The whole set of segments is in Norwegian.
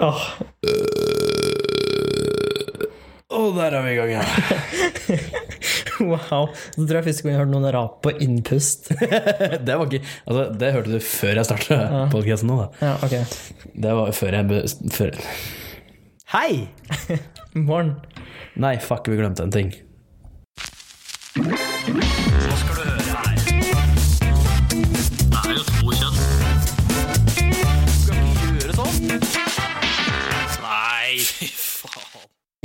Åh, Og der er vi i gang igjen. wow. Så tror jeg første gang jeg hørte noen rap på innpust. Det var ikke Altså, det hørte du før jeg starta podkasten nå, da. Ja, ok. Det var før jeg be, før. Hei! Morgen. Nei, fuck, vi glemte en ting.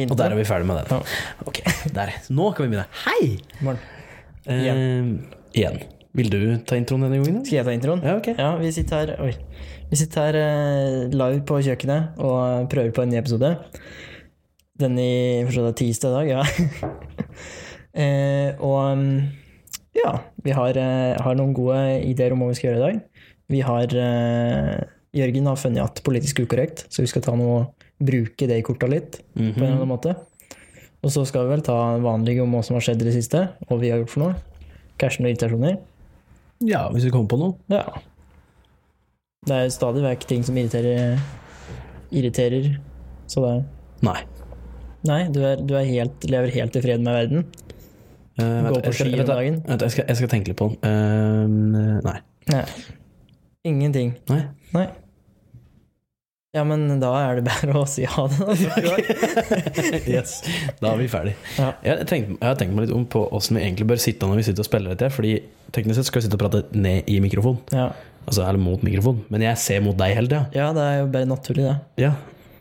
Og der er vi ferdig med den. Ok, der. Nå kan vi begynne. Hei! Morgen. Eh, igjen. Vil du ta introen denne gangen? da? Skal jeg ta introen? Ja, ok. Ja, vi sitter her Oi. Vi sitter her eh, live på kjøkkenet og prøver på en ny episode. Den i for så vidt tirsdag i dag, ja. eh, og mm, ja, vi har, eh, har noen gode ideer om hva vi skal gjøre i dag. Vi har eh, Jørgen har funnet at politisk ukorrekt, så vi skal ta noe, bruke det i korta litt. På en eller annen måte. Og så skal vi vel ta vanlige om hva som har skjedd i det siste, og vi har gjort for noe. Kanskje noen irritasjoner. Ja, hvis vi kommer på noe. Ja. Det er jo stadig vekk ting som irriterer Irriterer. Så det er Nei. Nei, du, er, du er helt, lever helt i fred med verden. Eh, vent, Gå på jeg skal- ski om vent, dagen. vent, Jeg skal, jeg skal tenke litt på den. Eh, nei. Nei. Ingenting. Nei. Nei. Ja, men da er det bare å si ha det. da. Yes, da er vi ferdig. Ja. Jeg, tenkte, jeg har tenkt meg litt om på åssen vi egentlig bør sitte når vi sitter og spiller dette. Fordi teknisk sett skal vi sitte og prate ned i mikrofon, Ja. altså eller mot mikrofon. Men jeg ser mot deg hele tida. ja, det er jo bare naturlig, det. Ja.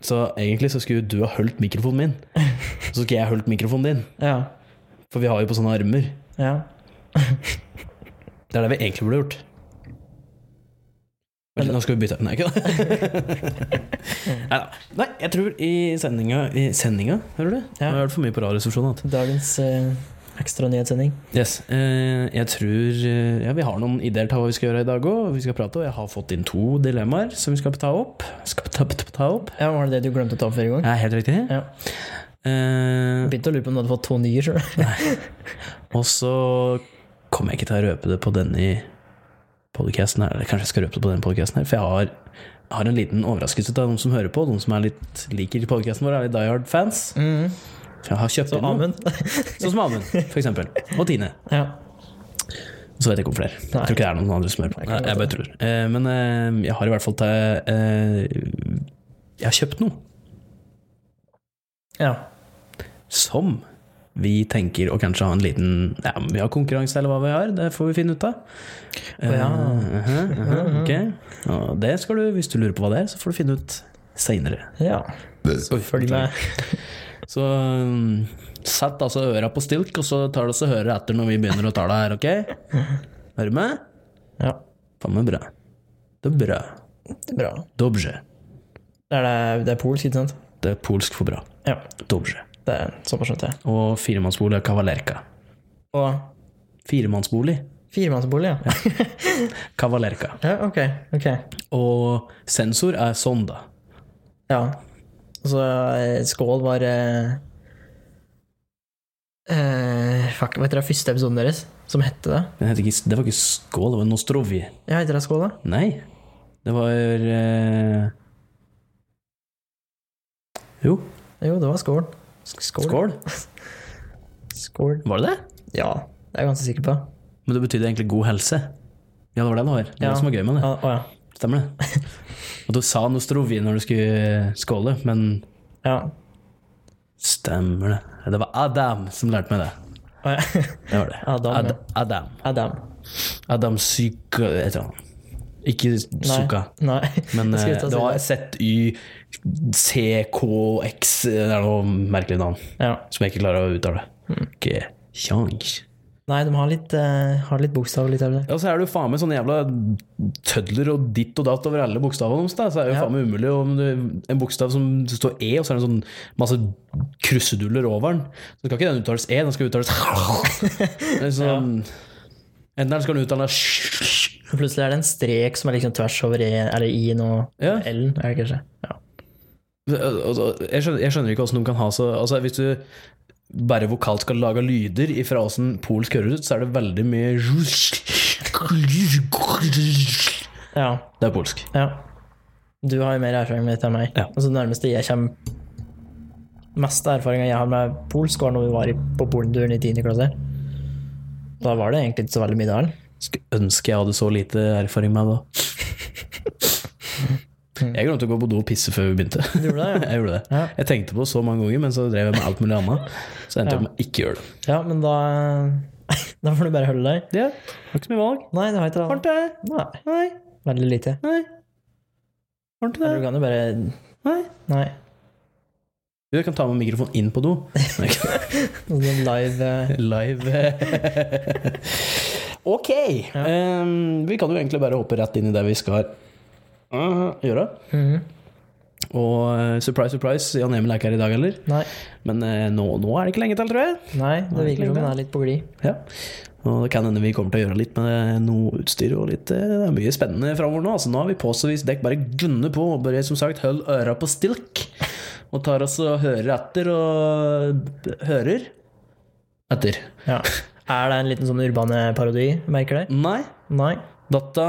Så egentlig så skulle du ha holdt mikrofonen min. Så skulle jeg holdt mikrofonen din. Ja. For vi har jo på sånne armer. ja. Det er det vi egentlig burde gjort. Vent, litt, nå skal vi bytte Nei, ikke det. Nei da. Nei, jeg tror i sendinga I sendinga, hører du? Nå har jeg hørt for mye på Radioresepsjonen. at- Dagens eh, ekstra nyhetssending. Yes. Eh, jeg tror eh, ja, Vi har noen ideer til hva vi skal gjøre i dag òg. Vi skal prate, og jeg har fått inn to dilemmaer som vi skal ta opp. Skal ta, ta, ta opp. Ja, Var det det du glemte å ta opp forrige gang? Ja, helt riktig. Ja. Eh, Begynte å lure på om du hadde fått to nye sjøl. og så kommer jeg ikke til å røpe det på denne podcasten her. Eller kanskje jeg skal røpe det på denne podcasten her, for jeg har, jeg har en liten overraskelse til noen som hører på. Noen som er litt, liker podcasten vår, er litt Die Hard-fans. Mm. For jeg har kjøpt inn noe. Amund. Sånn som Amund, for eksempel. Og Tine. ja. Så vet jeg ikke om flere. Jeg tror ikke det er noen andre som hører på. Nei, jeg bare tror. Eh, Men eh, jeg har i hvert fall til eh, Jeg har kjøpt noe ja. som vi tenker å kanskje ha en liten ja, om Vi har konkurranse eller hva vi har, det får vi finne ut av. Eh, ja. aha, aha, ok. Og det skal du, hvis du lurer på hva det er, så får du finne ut seinere. ja. Følg med. Så um, sett altså øra på stilk, og så tar du også høret etter når vi begynner å ta det her, ok? Er du med? Ja. Faen meg bra. Det er bra. Bra. Dobrze. Det er, det, det er polsk, ikke sant? Det er polsk for bra. Ja, Dobrze. det er såpass skjønt jeg. Og firemannsbolig er Kavalerka. Og Firemannsbolig firemannsbolig, ja. Kavalerka. ja. Ok, ok. Og sensor er Sonda. Ja. Og så eh, skål var eh, eh, Fuck, hva heter det første episoden deres? Som hette det? Den heter ikke, det var ikke Skål, det var Nostrovi. Ja, heter det skål, da? Nei. Det var eh, Jo, Jo, det var skål. Skål. skål. Skål. Var det det? Ja, det er jeg ganske sikker på. Men det betydde egentlig god helse. Ja, det var det det var. Det var Ja. det som var gøy med det. Ja, å ja. Stemmer det? Og du sa Nostrovi når du skulle skåle, men Ja. stemmer det. Det var Adam som lærte meg det. Å, ja. Det var det. Adam, Ad ja. Adam. Adam. Adam Syka Et eller annet. Ikke Nei. Suka. Nei. Men Jeg skulle eh, ta det var Suka. ZYCKX Det er noe merkelig navn ja. som jeg ikke klarer å uttale. Hmm. Ikke kjangs. Nei, de har litt, eh, har litt bokstav litt av det. Ja, så er det jo faen meg sånne jævla tødler og ditt og datt over alle bokstavene deres. da. Så er det jo faen meg umulig om du, en bokstav som det står E, og så er det en sånn masse kruseduller over den. Så skal ikke den uttales E, den skal uttales Det er sånn, Enten skal den uttales Og Plutselig er det en strek som er liksom tvers over E, eller I-en og Ja. L-en, er det kanskje? Ja. Altså, Jeg skjønner, jeg skjønner ikke hvordan de kan ha så altså, Hvis du bare vokalt skal lage lyder ifra åssen polsk høres ut, så er det veldig mye Det Ja. er polsk. ja. Du har jo mer erfaring med dette enn meg. Ja. Altså, det nærmeste jeg kommer Mest erfaringa jeg har med polsk, var når vi var i- på polenturen i 10. klasse. Da var det egentlig ikke så veldig mye der. Skulle ønske jeg hadde så lite erfaring med det. da. Jeg glemte å gå på do og pisse før vi begynte. Du gjorde det, ja. Jeg gjorde det. Ja. Jeg tenkte på det så mange ganger, men så drev jeg med alt mulig annet. Så endte jeg opp med å ikke gjøre det. Ja, men da Da får du bare holde deg. Det var ikke så mye valg. Nei, det har ikke Varmt det? Nei, Nei. Veldig lite. Nei. Varmt det? Du kan jo bare Nei. Nei. Du jeg kan ta med mikrofonen inn på do. Nei, ikke. Sånn live eh, Live. ok. Ehm, vi kan jo egentlig bare hoppe rett inn i det vi skal eh, gjøre. mhm. Og eh, surprise, surprise, Jan Emil er ikke her i dag heller. Nei. Men eh, nå, nå er det ikke lenge til, tror jeg. Nei, det Nei, virker som hun er litt på glid. Ja. Og det kan hende vi kommer til å gjøre litt med noe utstyr og litt eh, Det er mye spennende framover nå. Altså, nå er vi på, så hvis dere bare gunner på og bare som sagt hold øra på stilk, og tar oss og hører etter og hører etter. Ja. Er det en liten sånn urbane parodi, merker du? Nei. Nei. Data,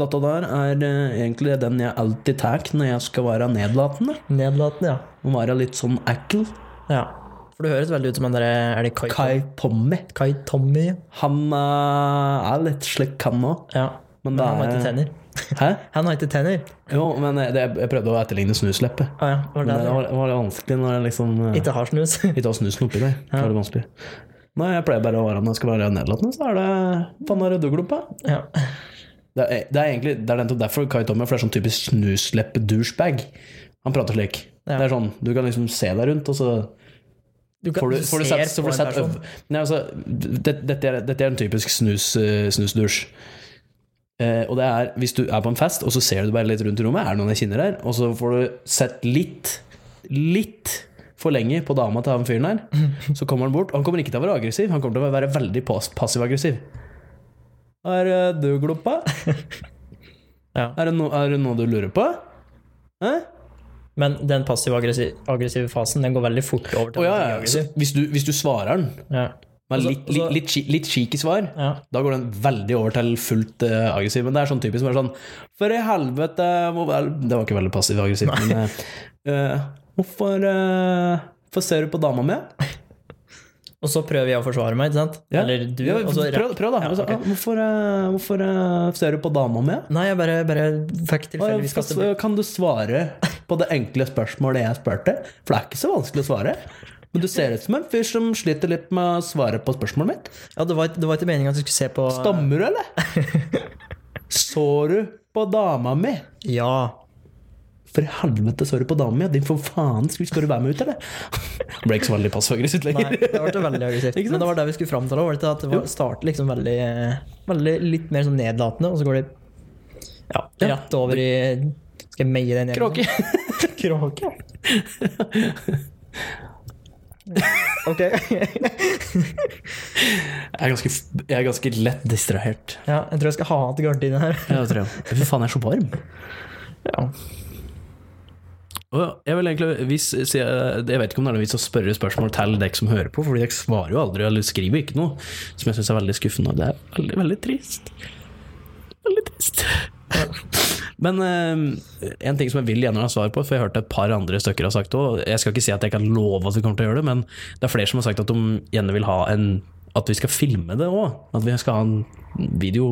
data der er eh, egentlig den jeg alltid tar når jeg skal være nedlatende. Nedlatende, ja. Og være litt sånn ekkel. Ja. For det høres veldig ut som han derre Er det Kai, Kai. Kai Pommi. Tommy? Han eh, er litt slik, han òg. Ja. Men, Men det han har er- ikke tenner. Hæ? Han har ikke tenner. Jo, men eh, det, jeg prøvde å etterligne snusleppet. Å ah, ja. Var det Men det det? var, det var litt vanskelig når jeg liksom eh, Ikke har snus. ikke har snusen oppi der. Det var litt vanskelig. Nei, jeg pleier bare å være når jeg skal være nedlatende, så er det Faen, er det dugloppa? ja. Det er, det er egentlig det er nettopp derfor Kai Tommy er sånn typisk snusleppe-douchebag. Han prater slik. Ja. Det er sånn, Du kan liksom se deg rundt, og så Du, kan, får du, du får du ser sett, så på får du en sett person. øv- Nei, altså, det, dette, er, dette er en typisk snus, eh, snusdusj. Eh, og det er hvis du er på en fest, og så ser du bare litt rundt i rommet, er det noen jeg kjenner her? Og så får du sett litt, litt for lenge på dama til han fyren her. Så kommer han bort, og han kommer ikke til å være aggressiv, han kommer til å være veldig pass, passiv-aggressiv. Er eh, du gloppa? Ja. Er, det no, er det noe du lurer på? Hæ? Men den passiv-aggressive fasen Den går veldig fort over til Å å ja, bli ja. Så aggressiv. Hvis du, hvis du svarer han Ja. med Altså- litt, litt, altså- litt, chi- litt cheeky svar, Ja. Da går den veldig over til fullt eh, aggressiv. Men det er sånn typisk som er sånn For i helvete må vel Det var ikke veldig passiv aggressiv, men eh, eh, Hvorfor eh, Hvorfor ser du på dama mi? Og så prøver jeg å forsvare meg, ikke sant? Ja. Eller du. Ja, og så prøv, prøv, da. Altså, «Ah, Hvorfor, eh, hvorfor eh, ser du på dama mi? Nei, jeg bare, bare fikk tilfeldigvis kastet blikk. Kan du svare på det enkle spørsmålet jeg spurte? For det er ikke så vanskelig å svare. Men du ser ut som en fyr som sliter litt med å svare på spørsmålet mitt. Ja, det var, ikke- det var ikke meningen at du skulle se på Stammer du, eller? Så du på dama mi? Ja. For i helvete, så du på dama mi, din for faen, skal, skal du være med ut, eller? Det ble ikke så veldig passiv-aggressivt Nei, lenger. det ble veldig aggressivt. Ikke sant? Men det var det vi skulle fram til. da, Var det ikke at det var, starter liksom veldig, eh, veldig litt mer sånn nedlatende, og så går det ja, rett over i Skal jeg meie den Kråke. Kråke. Ok. Jeg er ganske, jeg er ganske lett distrahert. Ja, jeg tror jeg skal ha av til gardina her. Ja, det tror jeg. Fy faen, jeg er så varm. Ja. Og Jeg vil egentlig, hvis, si- eh, jeg vet ikke om det er noe vits å spørre spørsmål til dere som hører på, fordi dere svarer jo aldri eller skriver ikke noe, som jeg syns er veldig skuffende. og Det er veldig, veldig trist. Veldig trist. Men eh, en ting som jeg vil gjerne ha svar på, for jeg hørte et par andre stykker har sagt det også, Jeg skal ikke si at jeg kan love at vi kommer til å gjøre det, men det er flere som har sagt at de gjerne vil ha en At vi skal filme det òg. At vi skal ha en video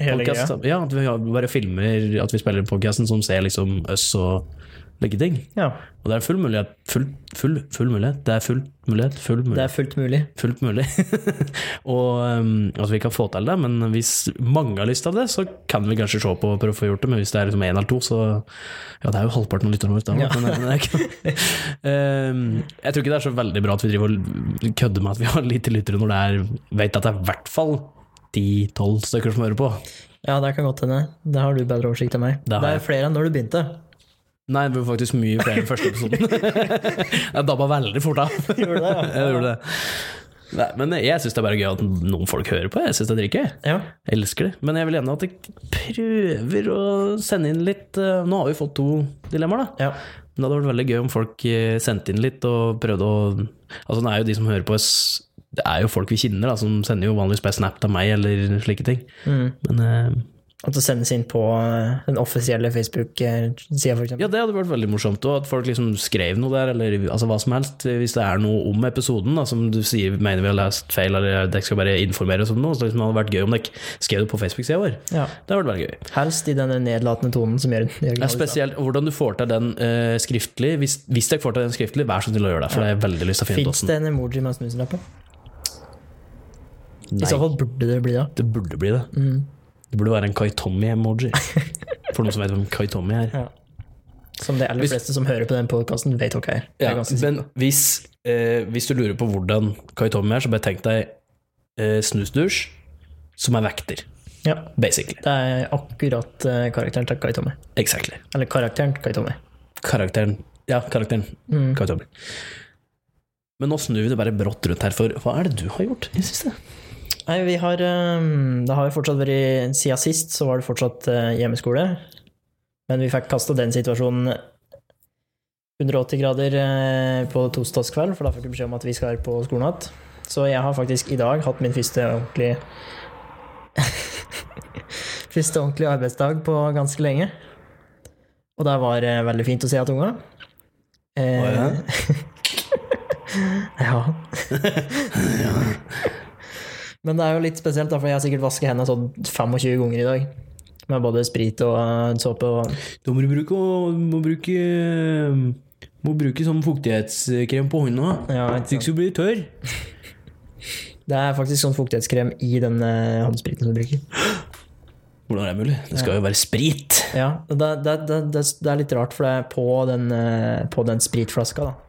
Hele podcast, greia. ja, at vi har- bare filmer at vi spiller podkasten som ser liksom oss og like ting. Ja, Og det er full mulighet. Full, full, full mulighet. Det er full mulighet. Full mulighet. det er fullt mulig. Fullt mulig. og um, at vi kan få til det, men hvis mange har lyst til det, så kan vi kanskje se på og prøve å få gjort det, men hvis det er liksom én eller to, så Ja, det er jo halvparten av lytterne våre, da, men, men det er ikke um, Jeg tror ikke det er så veldig bra at vi driver og kødder med at vi har lite lyttere når det er Vet at det er i hvert fall 10-12 stykker som hører på. Ja, det kan godt hende. Det har du bedre oversikt enn meg. Det Det, har jeg. er flere enn når du begynte. Nei, det ble faktisk mye flere enn første episoden. Jeg dabba veldig fort av. Gjorde det, ja. Jeg gjorde det. Nei, men jeg syns det er bare gøy at noen folk hører på. Jeg syns det er dritgøy. Ja. Jeg elsker det. Men jeg vil gjerne at jeg prøver å sende inn litt eh, Nå har vi fått to dilemmaer, da. ja. Men det hadde vært veldig gøy om folk eh, sendte inn litt og prøvde å Altså, det er jo de som hører på oss Mm. Det er jo folk vi kjenner, da, som sender jo vanligvis bare snap til meg eller slike ting. Men eh, At det sendes inn på eh, den offisielle eh, Facebook-sida, f.eks. Ja, det hadde vært veldig morsomt. Og at folk liksom skrev noe der, eller altså, hva som helst. Hvis det er noe om episoden da, som du sier mener vi har lest feil, eller dere skal bare informere oss om noe, så liksom, det hadde vært gøy om dere skrev det på Facebook-sida vår. Ja. Det hadde vært veldig gøy. Helst i denne nedlatende tonen som gjør gjør Ja, glad i seg. spesielt hvordan du får til den eh, skriftlig. Hvis, hvis dere får til den skriftlig, vær så snill å gjøre det, for jeg har veldig lyst til å finne ut Fins åssen. det en emoji med en snuselapp på? I Nei. så fall burde det bli det. Mm. Det burde bli det. Det burde være en Kaitomi-emoji. For noen som vet hvem Kaitomi er. Som de aller Hvis- fleste som hører på den podkasten, vet hva er. Det er Ja, ganske sikkert. men hvis, eh, hvis du lurer på hvordan Kaitomi er, så bare tenk deg eh, snusdusj som er vekter. Ja. Basically. Det er akkurat eh, karakteren til Kai Tommy. Exactly. Eller karakteren til Kai Tommy. Karakteren. Ja, karakteren Mm. Kaitomi. Men nå snur vi det bare brått rundt her, for hva er det du har gjort i det siste? Nei, vi har ehm, Det har jo fortsatt vært Siden sist så var det fortsatt eh, hjemmeskole. Men vi fikk kasta den situasjonen 180 grader eh, på torsdagskveld, for da fikk vi beskjed om at vi skal på skolen igjen. Så jeg har faktisk i dag hatt min første ordentlige Første ordentlige arbeidsdag på ganske lenge. Og det var eh, veldig fint å se at eh, unga. ja. Men det er jo litt spesielt, da, for jeg har sikkert vasket hendene sånn 25 ganger i dag. Med både sprit og eh, såpe og Da må du bruke, må bruke, eh, må bruke sånn fuktighetskrem på hånda. ja, Så ikke du blir tørr. Det er faktisk sånn fuktighetskrem i den eh, håndspriten som du bruker. Hvordan er det mulig? Det skal jo være sprit. Ja, og det, det, det, det, det er litt rart, for det er på den, eh, på den spritflaska, da.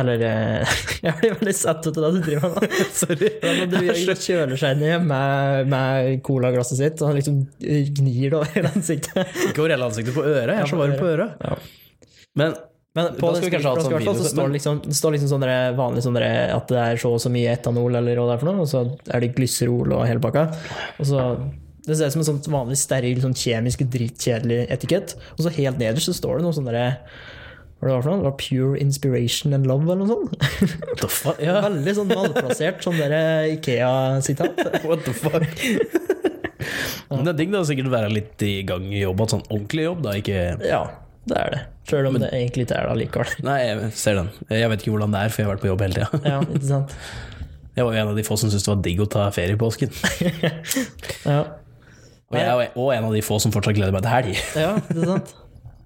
Eller eh, Jeg blir veldig satt ut av det du driver med. nå. Sorry. Ja, men du gjør- kjøler seg ned med, med colaglasset sitt og liksom gnir det over ansiktet. Ikke over hele ansiktet, på øret. Jeg er så varm på øret. Ja. Men Men på Da den skal vi kanskje ha spritflaska i sånn hvert fall, så video, står men- det liksom, det står liksom sånn der vanlig sånn der at det er så og så mye etanol eller hva det er for noe, og så er det glyserol og hele pakka. Og så Det ser ut som en sånn vanlig steril, sånn kjemisk dritkjedelig etikett. Og så helt nederst så står det noe sånn derre Hva det var for noe? Det var Pure inspiration and love, eller noe sånt. what the fuck? Ja, Veldig sånn malplassert sånn derre Ikea-sitat. what the fuck? Men det er digg da, å sikkert være litt i gang i jobb, at sånn ordentlig jobb da, ikke... Ja, det er det. Sjøl om det egentlig ikke er det allikevel. Nei, jeg ser den. Jeg vet ikke hvordan det er, for jeg har vært på jobb hele tiden. Ja, ikke sant. Jeg var jo en av de få som syntes det var digg å ta ferie i påsken. Ja. Og jeg er jo også en av de få som fortsatt gleder meg til helg. Ja, det er sant.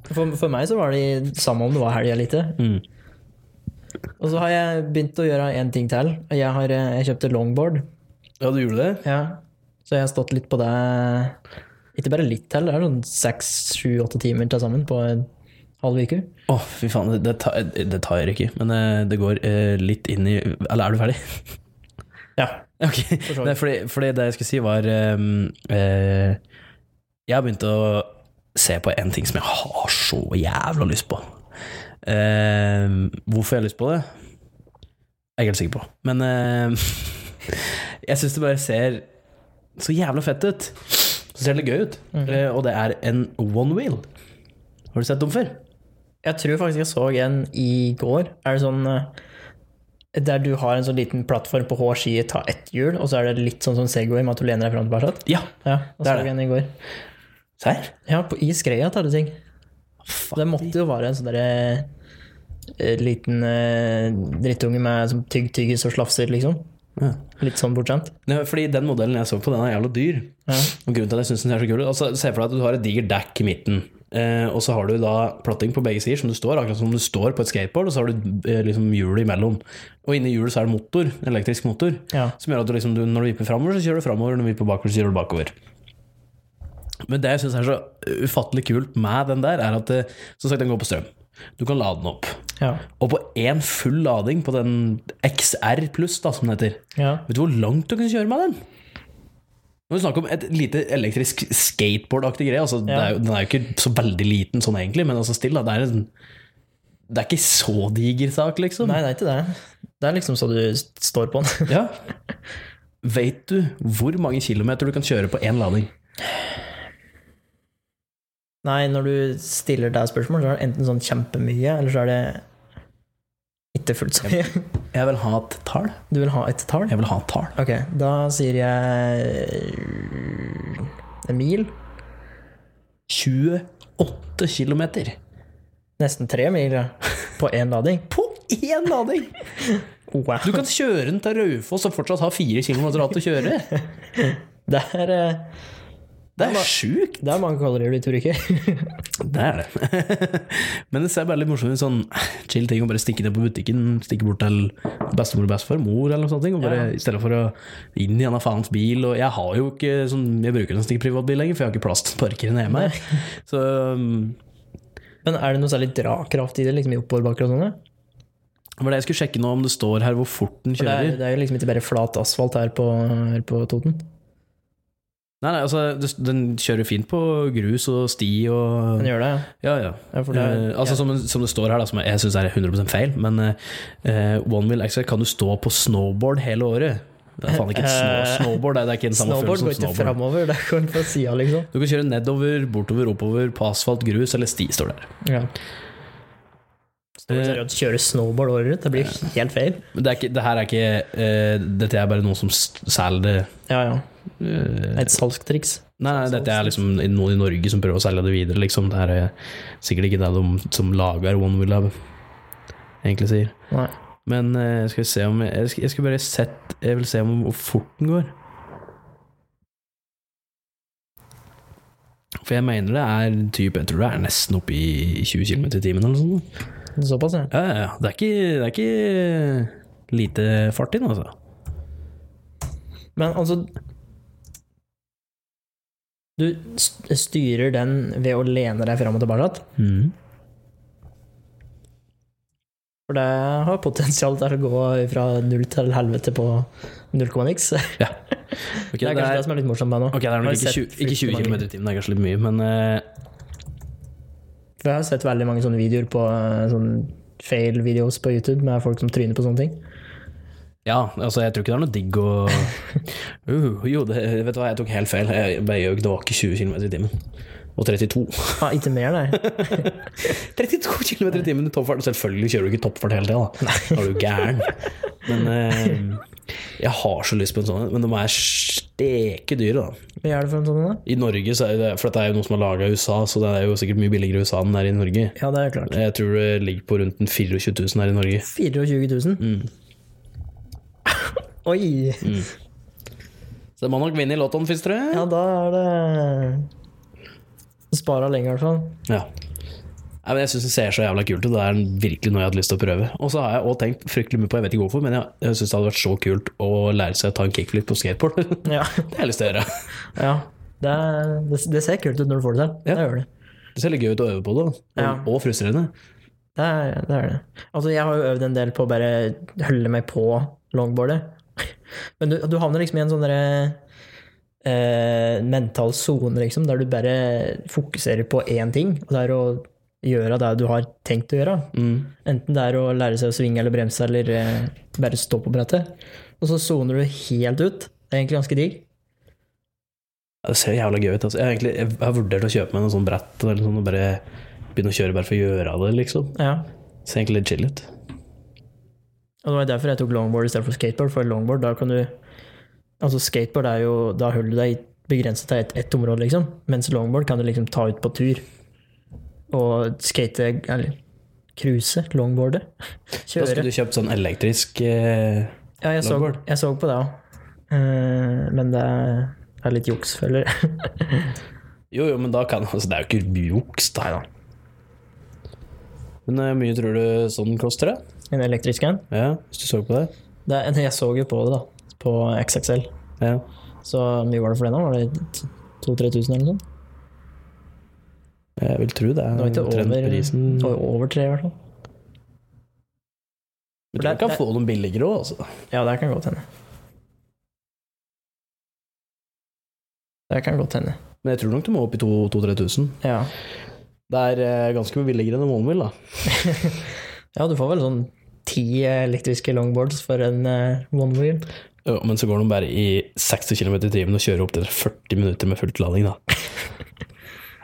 For, for meg så var det samme om det var helg eller ikke. Og så har jeg begynt å gjøre en ting til. Og Jeg, har, eh, jeg kjøpte longboard. Ja, du gjorde det? Ja. Så jeg har stått litt på det Ikke bare litt til, det er sånn seks, sju, åtte timer til sammen på en halv uke. Å, fy faen, det, det, tar, det tar jeg ikke, men eh, det går eh, litt inn i Eller er du ferdig? Ja. Ok, så vidt. Nei, fordi, fordi det jeg skulle si var ehm, eh, Jeg har begynt å se på en ting som jeg har så jævla lyst på. Ehm, hvorfor jeg har lyst på det? Jeg er ikke helt sikker på. Men ehm, jeg syns det bare ser så jævla fett ut. Så ser det gøy ut. Eh, og det er en one wheel. Har du sett dem før? Jeg tror faktisk jeg så en i går. Er det sånn eh, der du har en sånn liten plattform på hver side, ta ett hjul, og så er det litt sånn som Segway med at du lener deg fram og tilbake? Ja. Ja, det Det er er det. det. En i går. Serr? Ja, på, i skreia tar det ting. Fuck. Det måtte jo være en sånn derre eh, liten eh, drittunge med som tygg tyggis og slafser, liksom. Ja. Litt sånn bortskjemt. Nei, fordi den modellen jeg så på, den er jævla dyr. Og grunnen til at jeg synes den er så kul altså, Se for deg at du har et digert dekk i midten. Eh, og så har du da platting på begge sider, som du står, akkurat som du står på et skateboard. Og så har du eh, liksom hjulet imellom. Og inni hjulet så er det motor, en elektrisk motor. Ja. Som gjør at du, liksom, du, når du vipper framover, så kjører du framover. Når du vipper bakover, så kjører du bakover. Men det jeg syns er så ufattelig kult med den der, er at eh, som sagt, den går på strøm. Du kan lade den opp. Ja. Og på én full lading på den XR pluss, da, som den heter, ja. Vet du hvor langt du kan kjøre med den? Nå er det snakk om et lite elektrisk skateboard-aktig greie. Altså, det er jo, den er jo ikke så veldig liten sånn egentlig, men altså still, da, det, er en, det er ikke så diger sak, liksom. Nei, det er ikke det. Det er liksom så du s- står på den. Ja. Vet du hvor mange kilometer du kan kjøre på én lading? Nei, når du stiller deg spørsmål, så er det enten sånn kjempemye, eller så er det ikke fullt så mye. Jeg vil ha et tall. Du vil ha et tall? Jeg vil ha et tall. Ok, da sier jeg En mil? 28 kilometer Nesten tre mil, ja. På én lading? på én lading! Wow. Du kan kjøre den til Raufoss og fortsatt ha fire kilometer igjen til å kjøre. Det er, eh, Det er sjukt! det er mange kalorier du tror ikke. Det er det. Men det ser bare litt morsomt ut. Sånn chill ting å bare stikke ned på butikken, stikke bort til bestemor og bestefar, mor eller noe sånt. Og bare, I stedet for å inn i en av faens bil. Og jeg har jo ikke sånn, jeg bruker nesten ikke privatbil lenger, for jeg har ikke plass til å parkere den hjemme her. Så um, Men er det noe særlig drakraft i det, liksom i oppoverbakker og sånne? det var det jeg skulle sjekke nå, om det står her hvor fort den Det er, kjører. det er jo liksom ikke bare flat asfalt her på, her på Toten. Nei, nei, altså, det- den kjører fint på grus og sti og Den gjør det, ja. Ja, ja. Ja, for det er- Eh, altså, som, som det står her, da, som jeg syns er 100 feil, men eh, One Wheel Extra kan du stå på snowboard hele året. Det er faen ikke et snow, Eh, snowboard, det er- det er ikke den samme Snowboard går følelsen som ikke snowboard. framover, det går på sida, liksom. Du kan kjøre nedover, bortover, oppover, på asfalt, grus eller sti, står det her. Ja. Eh. Står det seriøst kjøre snowboard året rundt? Det blir jo helt feil. Men det, er ikke, det her er ikke eh, Dette er bare noen som s- selger det Ja, ja. eh, Det er et salgstriks. Nei, nei, dette er liksom noen i Norge som prøver å selge det videre, liksom. Det her er sikkert ikke det de som lager One Wheel Lab, egentlig sier. Nei. Men eh, skal vi se om Jeg, jeg skal bare sett, jeg vil se om hvor fort den går. For jeg mener det er typ, Jeg tror det er nesten oppe i 20 km i timen eller noe sånt. Såpass, ja. Ja, ja, ja. Det er ikke, det er ikke lite fart i den, altså. Men altså Du st- styrer den ved å lene deg fram og tilbake? Mm. For det har potensial til å gå fra null til helvete på null komma niks. Ok, Det er kanskje det som er litt morsomt med nå. ok, det er Har nok du ikke sett 20, ikke 20 fryktelig km mange- i timen, det er kanskje litt mye, men eh, For jeg har sett veldig mange sånne videoer på eh, sånn fail-videos på YouTube med folk som tryner på sånne ting. Ja, altså jeg tror ikke det er noe digg å uh, Jo, det, vet du hva, jeg tok helt feil. Jeg bare gjør ikke- Det var ikke 20 km i timen. Og 32. Ah, ikke mer, nei. 32 km i timen i toppfart! Selvfølgelig kjører du ikke toppfart hele tida, da. Da er du gæren. Men eh, jeg har så lyst på en sånn en, men de er steke dyre, da. Hva er det for en sånn en, da? I Norge, så er det, for dette er jo noe som er laga i USA, så det er jo sikkert mye billigere i USA enn det er i Norge. Ja, det er klart. Jeg tror det ligger på rundt en 24 000 her i Norge. 24 000? Oi! Så det må nok vinne i Lottoen, fins dere? Ja, da er det Spara lenge, i hvert fall. Ja. Nei, men jeg syns det ser så jævla kult ut. Det er virkelig noe jeg hadde lyst til å prøve. Og så har jeg også tenkt fryktelig mye på, jeg vet ikke hvorfor, men jeg, jeg syns det hadde vært så kult å lære seg å ta en kickflip på skateboard. det Ja. har jeg lyst til å gjøre. ja. Det, er, det, det ser kult ut når du får det til. Ja. Det gjør det. Det ser litt gøy ut å øve på det, og, Ja. og frustrerende. Det er, det er det. Altså, jeg har jo øvd en del på å bare holde meg på longboardet. Men du, du havner liksom i en sånn derre eh, mental sone, liksom, der du bare fokuserer på én ting, og det er å gjøre det du har tenkt å gjøre. Enten det er å lære seg å svinge eller bremse, eller eh, bare stå på brettet. Og så soner du helt ut. Det er egentlig ganske digg. Ja, Det ser jævla gøy ut. Altså. Jeg, har egentlig, jeg har vurdert å kjøpe meg noe sånt brett eller sånn, og bare begynne å kjøre bare for å gjøre det, liksom. Ja. Det ser egentlig litt chill ut. Og det var derfor jeg tok longboard istedenfor skateboard, for longboard, da kan du Altså, skateboard er jo Da holder du deg begrenset til ett ett område, liksom. Mens longboard kan du liksom ta ut på tur. Og skate Eller cruise. Longboarde. Da skulle Kjøre. du kjøpt sånn elektrisk eh, Ja, jeg så, longboard. jeg så på det òg. men det er- det er litt juks, føler jeg. Jo, jo, men da kan altså, Det er jo ikke juks, da. Men eh, hvor mye tror du sånn koster det? En elektrisk en. Ja, hvis du så på det? Det er- Jeg så jo på det, da. På XXL. Ja. Så hvor mye var det for den, da? Var det 2000-3000 eller noe sånt? Jeg vil tro det Det er var ikke over, eh, trendprisen. det var jo over tre, i hvert fall. Jeg tror jeg kan få dem billigere òg, altså. Ja, det kan godt hende. Det kan godt hende. Men jeg tror nok de må opp i 2000-3000. Ja. Det er eh, ganske mye billigere enn One Wheel, da. ja, du får vel sånn ti elektriske longboards for en eh, one wheel. Ja, men så går de bare i 60 km i timen og kjører opp til 40 minutter med fullt lading, da.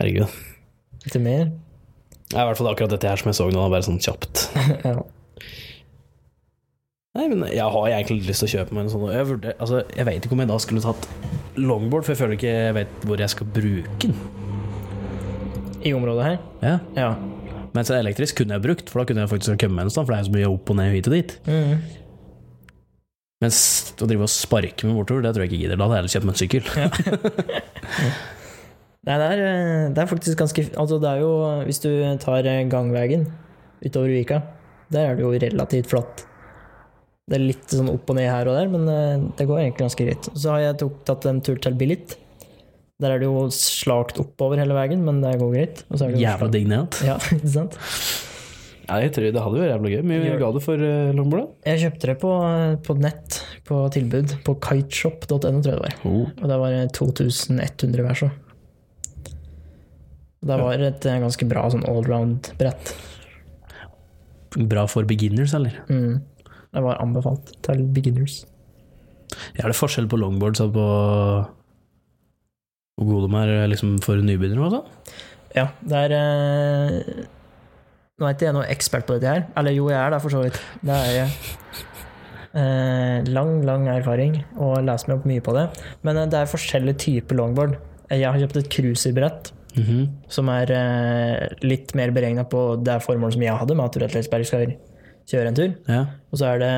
Herregud. Litt mer. Det er i hvert fall akkurat dette her som jeg så nå, da, bare sånn kjapt. ja. Nei, men jeg har egentlig lyst til å kjøpe meg en sånn. og Jeg, vurder, altså, jeg vet ikke om jeg da skulle tatt longboard, for jeg føler ikke jeg vet hvor jeg skal bruke den. I området her? Ja. Ja. Mens en elektrisk kunne jeg brukt, for da kunne jeg faktisk kommet med en stand, for det er jo så mye opp og ned hit og dit. Mm. Mens å drive og sparke med bortover, det tror jeg ikke gidder. Da hadde jeg heller kjøpt meg en sykkel. Nei, det er, eh, det er faktisk ganske Altså, det er jo Hvis du tar eh, gangveien utover Vika, der er det jo relativt flatt. Det er litt sånn opp og ned her og der, men eh, det går egentlig ganske greit. Så har jeg tok, tatt en tur til Billit. Der er det jo slakt oppover hele veien, men det går greit. Og så er det jo Jævla digg ned. Ja, ikke sant? Ja, jeg tror det hadde vært jævla gøy. Mye ga du for uh, longboard, Jeg kjøpte det på, eh, på nett, på tilbud, på kiteshop.no, tror jeg det var. Oh, Og det var 2100 hver, så. Det var et eh, ganske bra sånn allround-brett. Bra for beginners, eller? Mm. Det var anbefalt til beginners. Ja, er det forskjell på longboards og på hvor gode de er liksom, for nybegynnere? og sånn? Ja, det er eh, Nå er ikke jeg noen ekspert på dette her. Eller jo, jeg er det, for så vidt. Det er jeg. Eh, lang, lang erfaring, og jeg leser meg opp mye på det. Men eh, det er forskjellige typer longboard. Eh, Jeg har kjøpt et cruiserbrett. Mhm. som er eh, litt mer beregna på det formålet som jeg hadde, med at du rett og slett bare skal kjøre en tur. Ja. Og så er det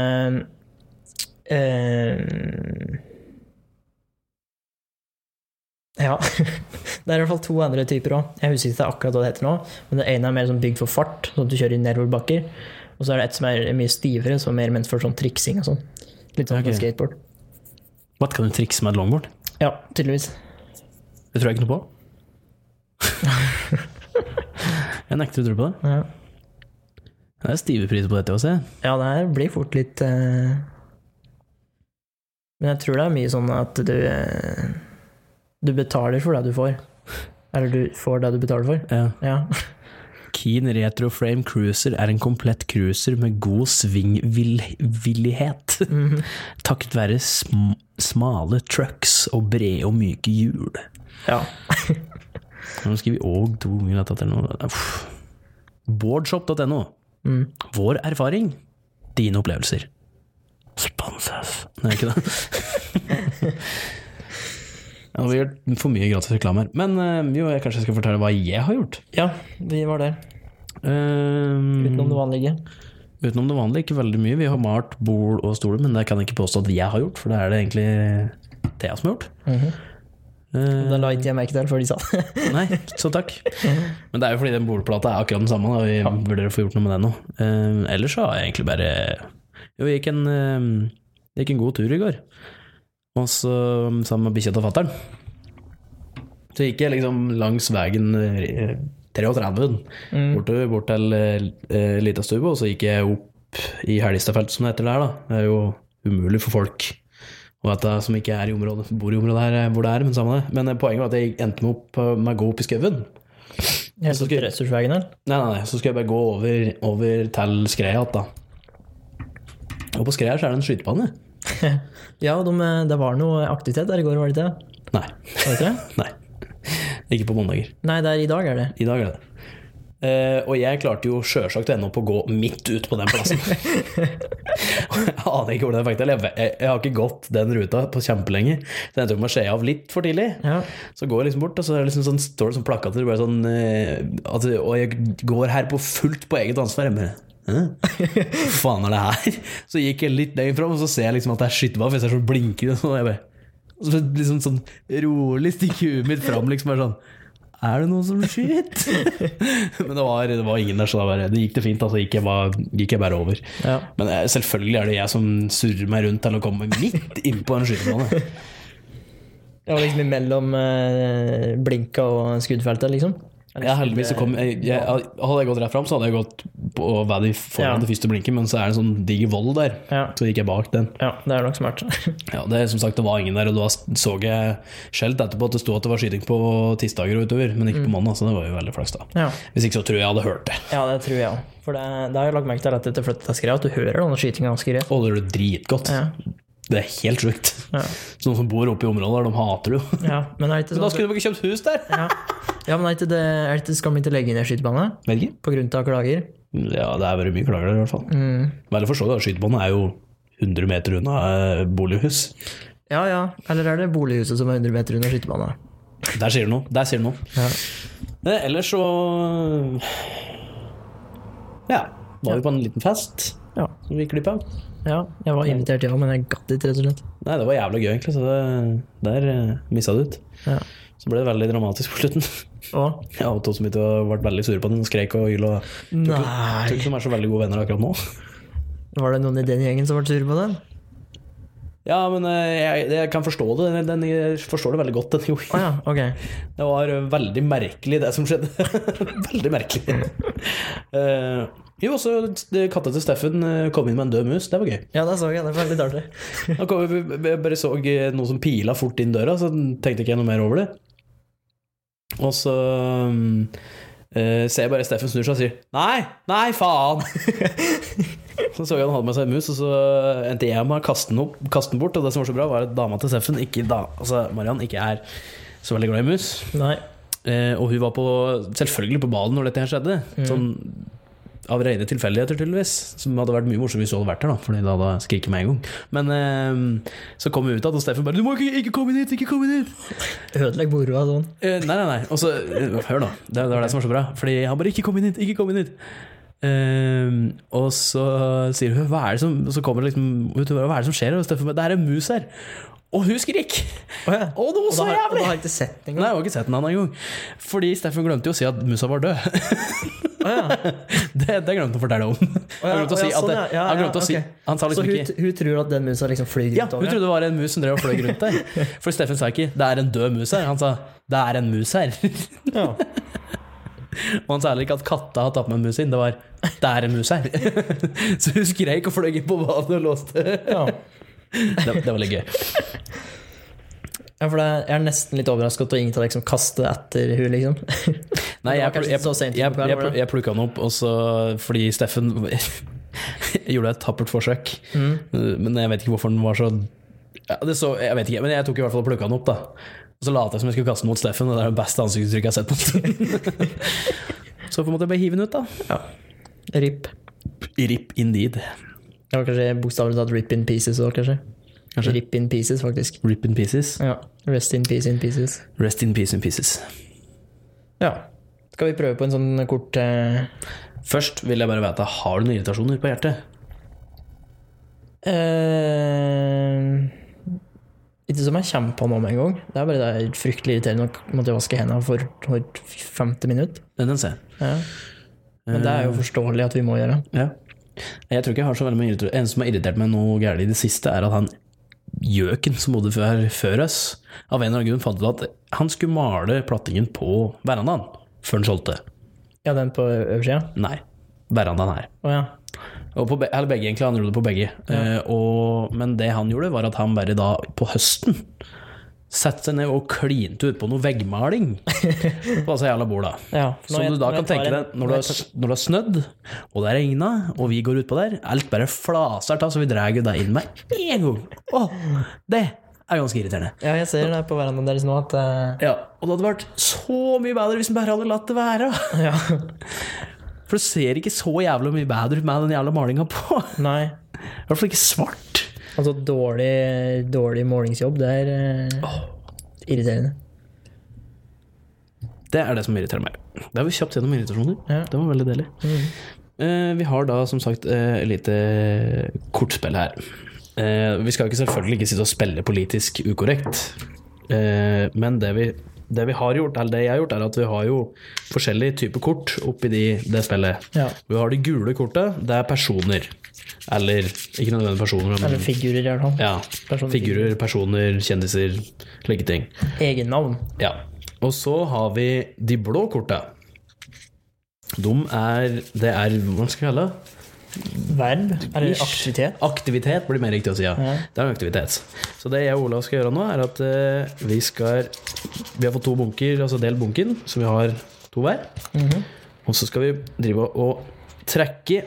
eh, Ja. Det er i hvert fall to andre typer òg. Jeg husker ikke akkurat hva det heter nå. Men det ene er mer sånn bygd for fart, sånn at du kjører i nedoverbakker. Og så er det et som er mye stivere, som er mer ment for sånn triksing og sånn. Litt sånn Ok. som skateboard. Hva kan du trikse med et longboard? Ja, tydeligvis. Det tror jeg ikke noe på. jeg nekter å tro på det. Ja, Det er stive priser på dette også. jeg. ja det her blir fort litt eh, Men jeg tror det er mye sånn at du eh, Du betaler for det du får. Eller du får det du betaler for. Ja. Ja. Keen Retro Frame Cruiser er en komplett cruiser med god svingvillighet, Mhm. takket være sm smale trucks og brede og myke hjul. Ja. Nå skriver vi òg to ganger dette til noe. Uff. Boardshop.no. Mm. Vår erfaring, dine opplevelser. Sponses. Nei, ikke det. Ja, vi gjør for mye gratis reklame her. Men eh, jo, jeg kanskje skal fortelle hva jeg har gjort. ja, vi var der. Eh, Utenom det vanlige. Utenom det vanlige, ikke veldig mye. Vi har malt bol og stoler, men det kan jeg ikke påstå at jeg har gjort, for det er det egentlig Thea som har gjort. Mhm. Eh, Det la ikke jeg merke til før de sa det. Nei, så takk. Men det er jo fordi den bolplata er akkurat den samme, da. Vi burde få gjort noe med den nå. Eh, ellers så har jeg egentlig bare Jo, jeg gikk en, eh, jeg gikk en god tur i går. Og så um, sammen med bikkja til fattern. Så gikk jeg liksom langs veien eh, 33-en, bortover bort til uh, lita stubbe, og så gikk jeg opp i Helgestadfeltet, som det heter der, da. Det er jo umulig for folk og at jeg som ikke er i området, bor i området her eh, hvor det er, men samme det. Men eh, poenget var at jeg endte med, opp, eh, med å gå opp i skauen. Helt opp til ressursveien her. Nei, nei, nei, så skal jeg bare gå over, over til skreia igjen, da. Og på skreia så er det en skytebane. Ja, de, eh, det var noe aktivitet der i går, var det ikke det? Nei. Var det ikke det? nei. Ikke på mandager. Nei, det er i dag er det. I dag er det det. Eh, og jeg klarte jo sjølsagt å ende opp å gå midt ut på den plassen. Og jeg aner ikke hvordan jeg fikk det til. Jeg, jeg, jeg har ikke gått den ruta på kjempelenge. Så jeg endte opp med å skje av litt for tidlig. Ja. Så går jeg liksom bort, og så er det liksom sånn, står det sånn plakater bare sånn eh, at, Og jeg går her på fullt på eget ansvar. Jeg bare, Hæ? Hva faen er det her? Så gikk jeg litt lenger fram, og så ser jeg liksom at det er skytebane, for jeg ser sånn blinkende sånn, og jeg bare og så liksom sånn rolig stikker huet mitt fram, liksom bare sånn Er det noen som skyter? Men det var, det var ingen der, så da bare, det gikk det fint. Altså, gikk jeg bare, gikk jeg bare over. Ja. Men eh, selvfølgelig er det jeg som surrer meg rundt til å komme midt innpå en skytebane. Det var liksom imellom eh, blinka og skuddfeltet, liksom. Ja, heldigvis så kom jeg, jeg, Hadde jeg gått rett fram, så hadde jeg gått på Valley foran Ja. det første blinket, men så er det en sånn diger vold der. Ja. Så gikk jeg bak den. Ja, det er nok smart. Ja, det, er som sagt, det var ingen der, og da så jeg skjelt etterpå at det sto at det var skyting på tirsdager og utover, men ikke på mandag, så det var jo veldig flaks, da. ja. Hvis ikke så tror jeg jeg hadde hørt det. ja, det tror jeg òg. For det, det har jeg lagt merke til at etter flyttet til Skreia, at du hører denne skytinga ganske greit. Å, det gjør det dritgodt. Ja. Det er helt sjukt. Ja. Så noen som bor oppe i området der, de hater det jo. Ja, men er det ikke Da sånn skulle de ikke kjøpt hus der! ja. ja, men er det ikke det, er det ikke skal man ikke legge inn en skytebane Vet ikke. på grunn av klager? Ja, det er veldig mye klager der, i hvert fall. Mm. Vel å forstå, da. Skytebanen er jo 100 meter unna eh, bolighus. Ja, ja. Eller er det bolighuset som er 100 meter under skytebanen? Der sier du noe. Der sier du noe. Ja. Eh, Ellers så Ja. Var vi på en liten fest Ja. som vi klippa. ja. Jeg var invitert, ja, men jeg gadd ikke, rett og slett. Nei, det var jævla gøy, egentlig, så det, der eh, missa det ut. Ja. Så ble det veldig dramatisk på slutten. Og Jeg og Tom Smith ble veldig sure på den, skrek og hyl og Nei. Tror ikke de er så veldig gode venner akkurat nå. Var det noen i den gjengen som ble sur på den? Ja, men eh, jeg, jeg kan forstå det. Den, den, jeg forstår det veldig godt. Den, Å ja, ok. Det var eh, veldig merkelig, det som skjedde. veldig merkelig. Eh, jo, også det- katta til Steffen eh, kom inn med en død mus. Det var gøy. Ja, det så jeg. Det var litt artig. Da kom, vi- vi- jeg bare så eh, noe som pila fort inn døra, så tenkte ikke jeg noe mer over det. Og så mm, eh, ser jeg bare Steffen snur seg og sier 'nei, nei, faen'. så så jeg han hadde med seg en mus, og så endte jeg med å kaste den, opp, kaste den bort. Og det som var så bra, var at dama til Steffen, ikke da, altså Mariann, ikke er så veldig glad i mus. Nei. Eh, og hun var på, selvfølgelig på ballen når dette her skjedde. Mm. Sånn av rene tilfeldigheter, tydeligvis. Som hadde vært mye morsomt hvis hun hadde vært her, da. Fordi da hadde hun skriket med en gang. Men eh, så kom hun ut igjen, og Steffen bare 'Du må ikke, ikke komme inn hit! Ikke komme inn hit!' Ødelegg moroa sånn. Eh, nei, nei, nei. Og så eh, Hør, da. Det, det var det som var så bra. Fordi han bare 'Ikke kom inn hit! Ikke kom inn hit!' Eh, og så sier hun 'Hva er det som' Og så kommer det liksom vet du, 'Hva er det som skjer?' her?» Og Steffen bare 'Det er en mus her!' Og hun skrek! Å ja. Og noe Og så da har og jævlig! da har jeg ikke sett den Nei, engang. jeg har ikke sett den annen gang. Fordi Steffen glemte jo å si at musa var død. Å ja. Det, det glemte han å fortelle om. Han glemte å si å ja, at sånn, det, ja. Ja, han ja, glemte å si ok. Han sa Så liksom hun, ikke hun tror at den musa liksom flyr Ja, rundt hun over? trodde det var en mus som drev og fløy rundt der. For Steffen sa ikke 'det er en død mus her', han sa 'det er en mus her'. Ja. Og han sa heller ikke at katta har tatt med en mus inn, det var 'det er en mus her'. Så hun skreik og fløy inn på badet og låste. Ja. Det, det var litt gøy. Ja, for det, jeg er nesten litt overrasket at ingen av dere liksom kaster etter hun liksom. Nei, Det var jeg, kanskje jeg, ikke så sent jeg, i jeg, programmet, var jeg, det? jeg plukka den opp, og så, fordi Steffen gjorde et tappert forsøk. Mm. Men jeg vet ikke hvorfor den var så ja, det så, Jeg vet ikke, men jeg tok i hvert fall og plukka den opp. da Og så lot jeg som jeg skulle kaste den mot Steffen, og det er det beste ansiktsuttrykket jeg har sett på en stund. så på en måte bare hive den ut, da. Rip. Rip indeed. Det var kanskje bokstavelig talt rip in pieces òg, kanskje. Kanskje. Rip in pieces, faktisk. Rip in pieces. Ja. Rest in peace in pieces. Rest in peace in pieces. Ja. Skal vi prøve på en sånn kort eh, Først vil jeg bare vite, har du noen irritasjoner på hjertet? eh, Ikke som jeg kommer på nå med en gang. Det er bare det er fryktelig irriterende å måtte vaske hendene for hvert femte minutt. Den den ser jeg. Ja. Men det er Eh. jo forståelig at vi må gjøre. Ja. Jeg tror ikke jeg har så veldig mye irritasjon. En som har irritert meg noe gærent i det siste, er at han gjøken som bodde før, før oss, av en eller annen grunn fant ut at han skulle male plattingen på verandaen før han solgte. Ja, den på øversida? Nei, verandaen her. Å ja. Og på be eller begge, egentlig. Han gjorde det på begge. Eh, og, men det han gjorde, var at han bare da, på høsten, satte seg ned og klinte utpå noe veggmaling på disse jævla borda. ja. Som du da kan tenke deg når du, har, når du har snødd, og det har regna, og vi går utpå der, alt bare flaser av, så vi drar deg inn med en gang. Åh, det er ganske irriterende. Ja, jeg ser det på verandaen deres nå at eh, Ja, og det hadde vært så mye bedre hvis en bare hadde latt det være. Ja. For det ser ikke så jævlig mye bedre ut med den jævla malinga på. Nei. I hvert fall ikke svart. Altså, dårlig, dårlig målingsjobb, det er eh, irriterende. Det er det som irriterer meg. Da er vi kjapt gjennom irritasjoner. Ja. Mm. Det var veldig deilig. Eh, vi har da som sagt eh, et lite kortspill her. Eh, vi skal ikke selvfølgelig ikke sitte og spille politisk ukorrekt, eh, men det vi, det vi har gjort, eller det jeg har gjort, er at vi har jo forskjellige typer kort oppi de, det spillet. Ja. Vi har de gule korta, det er personer. Eller ikke nødvendigvis personer, men Eller figurer, i hvert fall. ja, Personer. figurer, personer, kjendiser, slike ting. Egennavn. Ja. Og så har vi de blå korta. De er Det er Hva skal jeg kalle det? Verb. Eller Ish. aktivitet. Aktivitet blir mer riktig å si, ja. Det er en aktivitet. Så det jeg og Olav skal gjøre nå, er at eh, vi skal Vi har fått to bunker, altså del bunken, så vi har to hver. Og så skal vi drive og trekke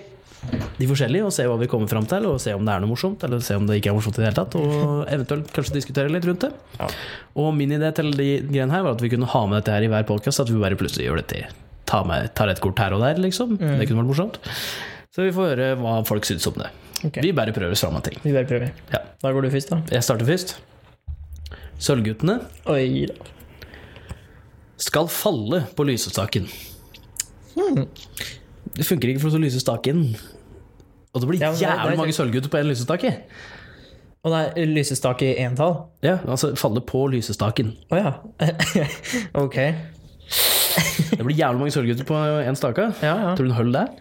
de forskjellige og se hva vi kommer fram til, og se om det er noe morsomt, eller se om det ikke er morsomt i det hele tatt, og eventuelt kanskje diskutere litt rundt det. Og min idé til de greiene her var at vi kunne ha med dette her i hver podkast, at vi bare plutselig gjør dette. Ta med, tar et kort her og der, liksom. Det kunne vært morsomt. Så vi får høre hva folk syns om det. Ok. Vi bare prøver oss fram med ting. Vi bare prøver. Ja. Da går du først, da. Jeg starter først. Sølvguttene Oi da. skal falle på lysestaken. Hmm. Det funker ikke for å lyse staken. Og det blir Ja, men det- det er jævlig mange sølvgutter på én lysestake. Og det er lysestak i entall? Ja, altså falle på lysestaken. Å ja. ok. Det blir jævlig mange sølvgutter på én stake. Ja, ja. Tror du hun holder der?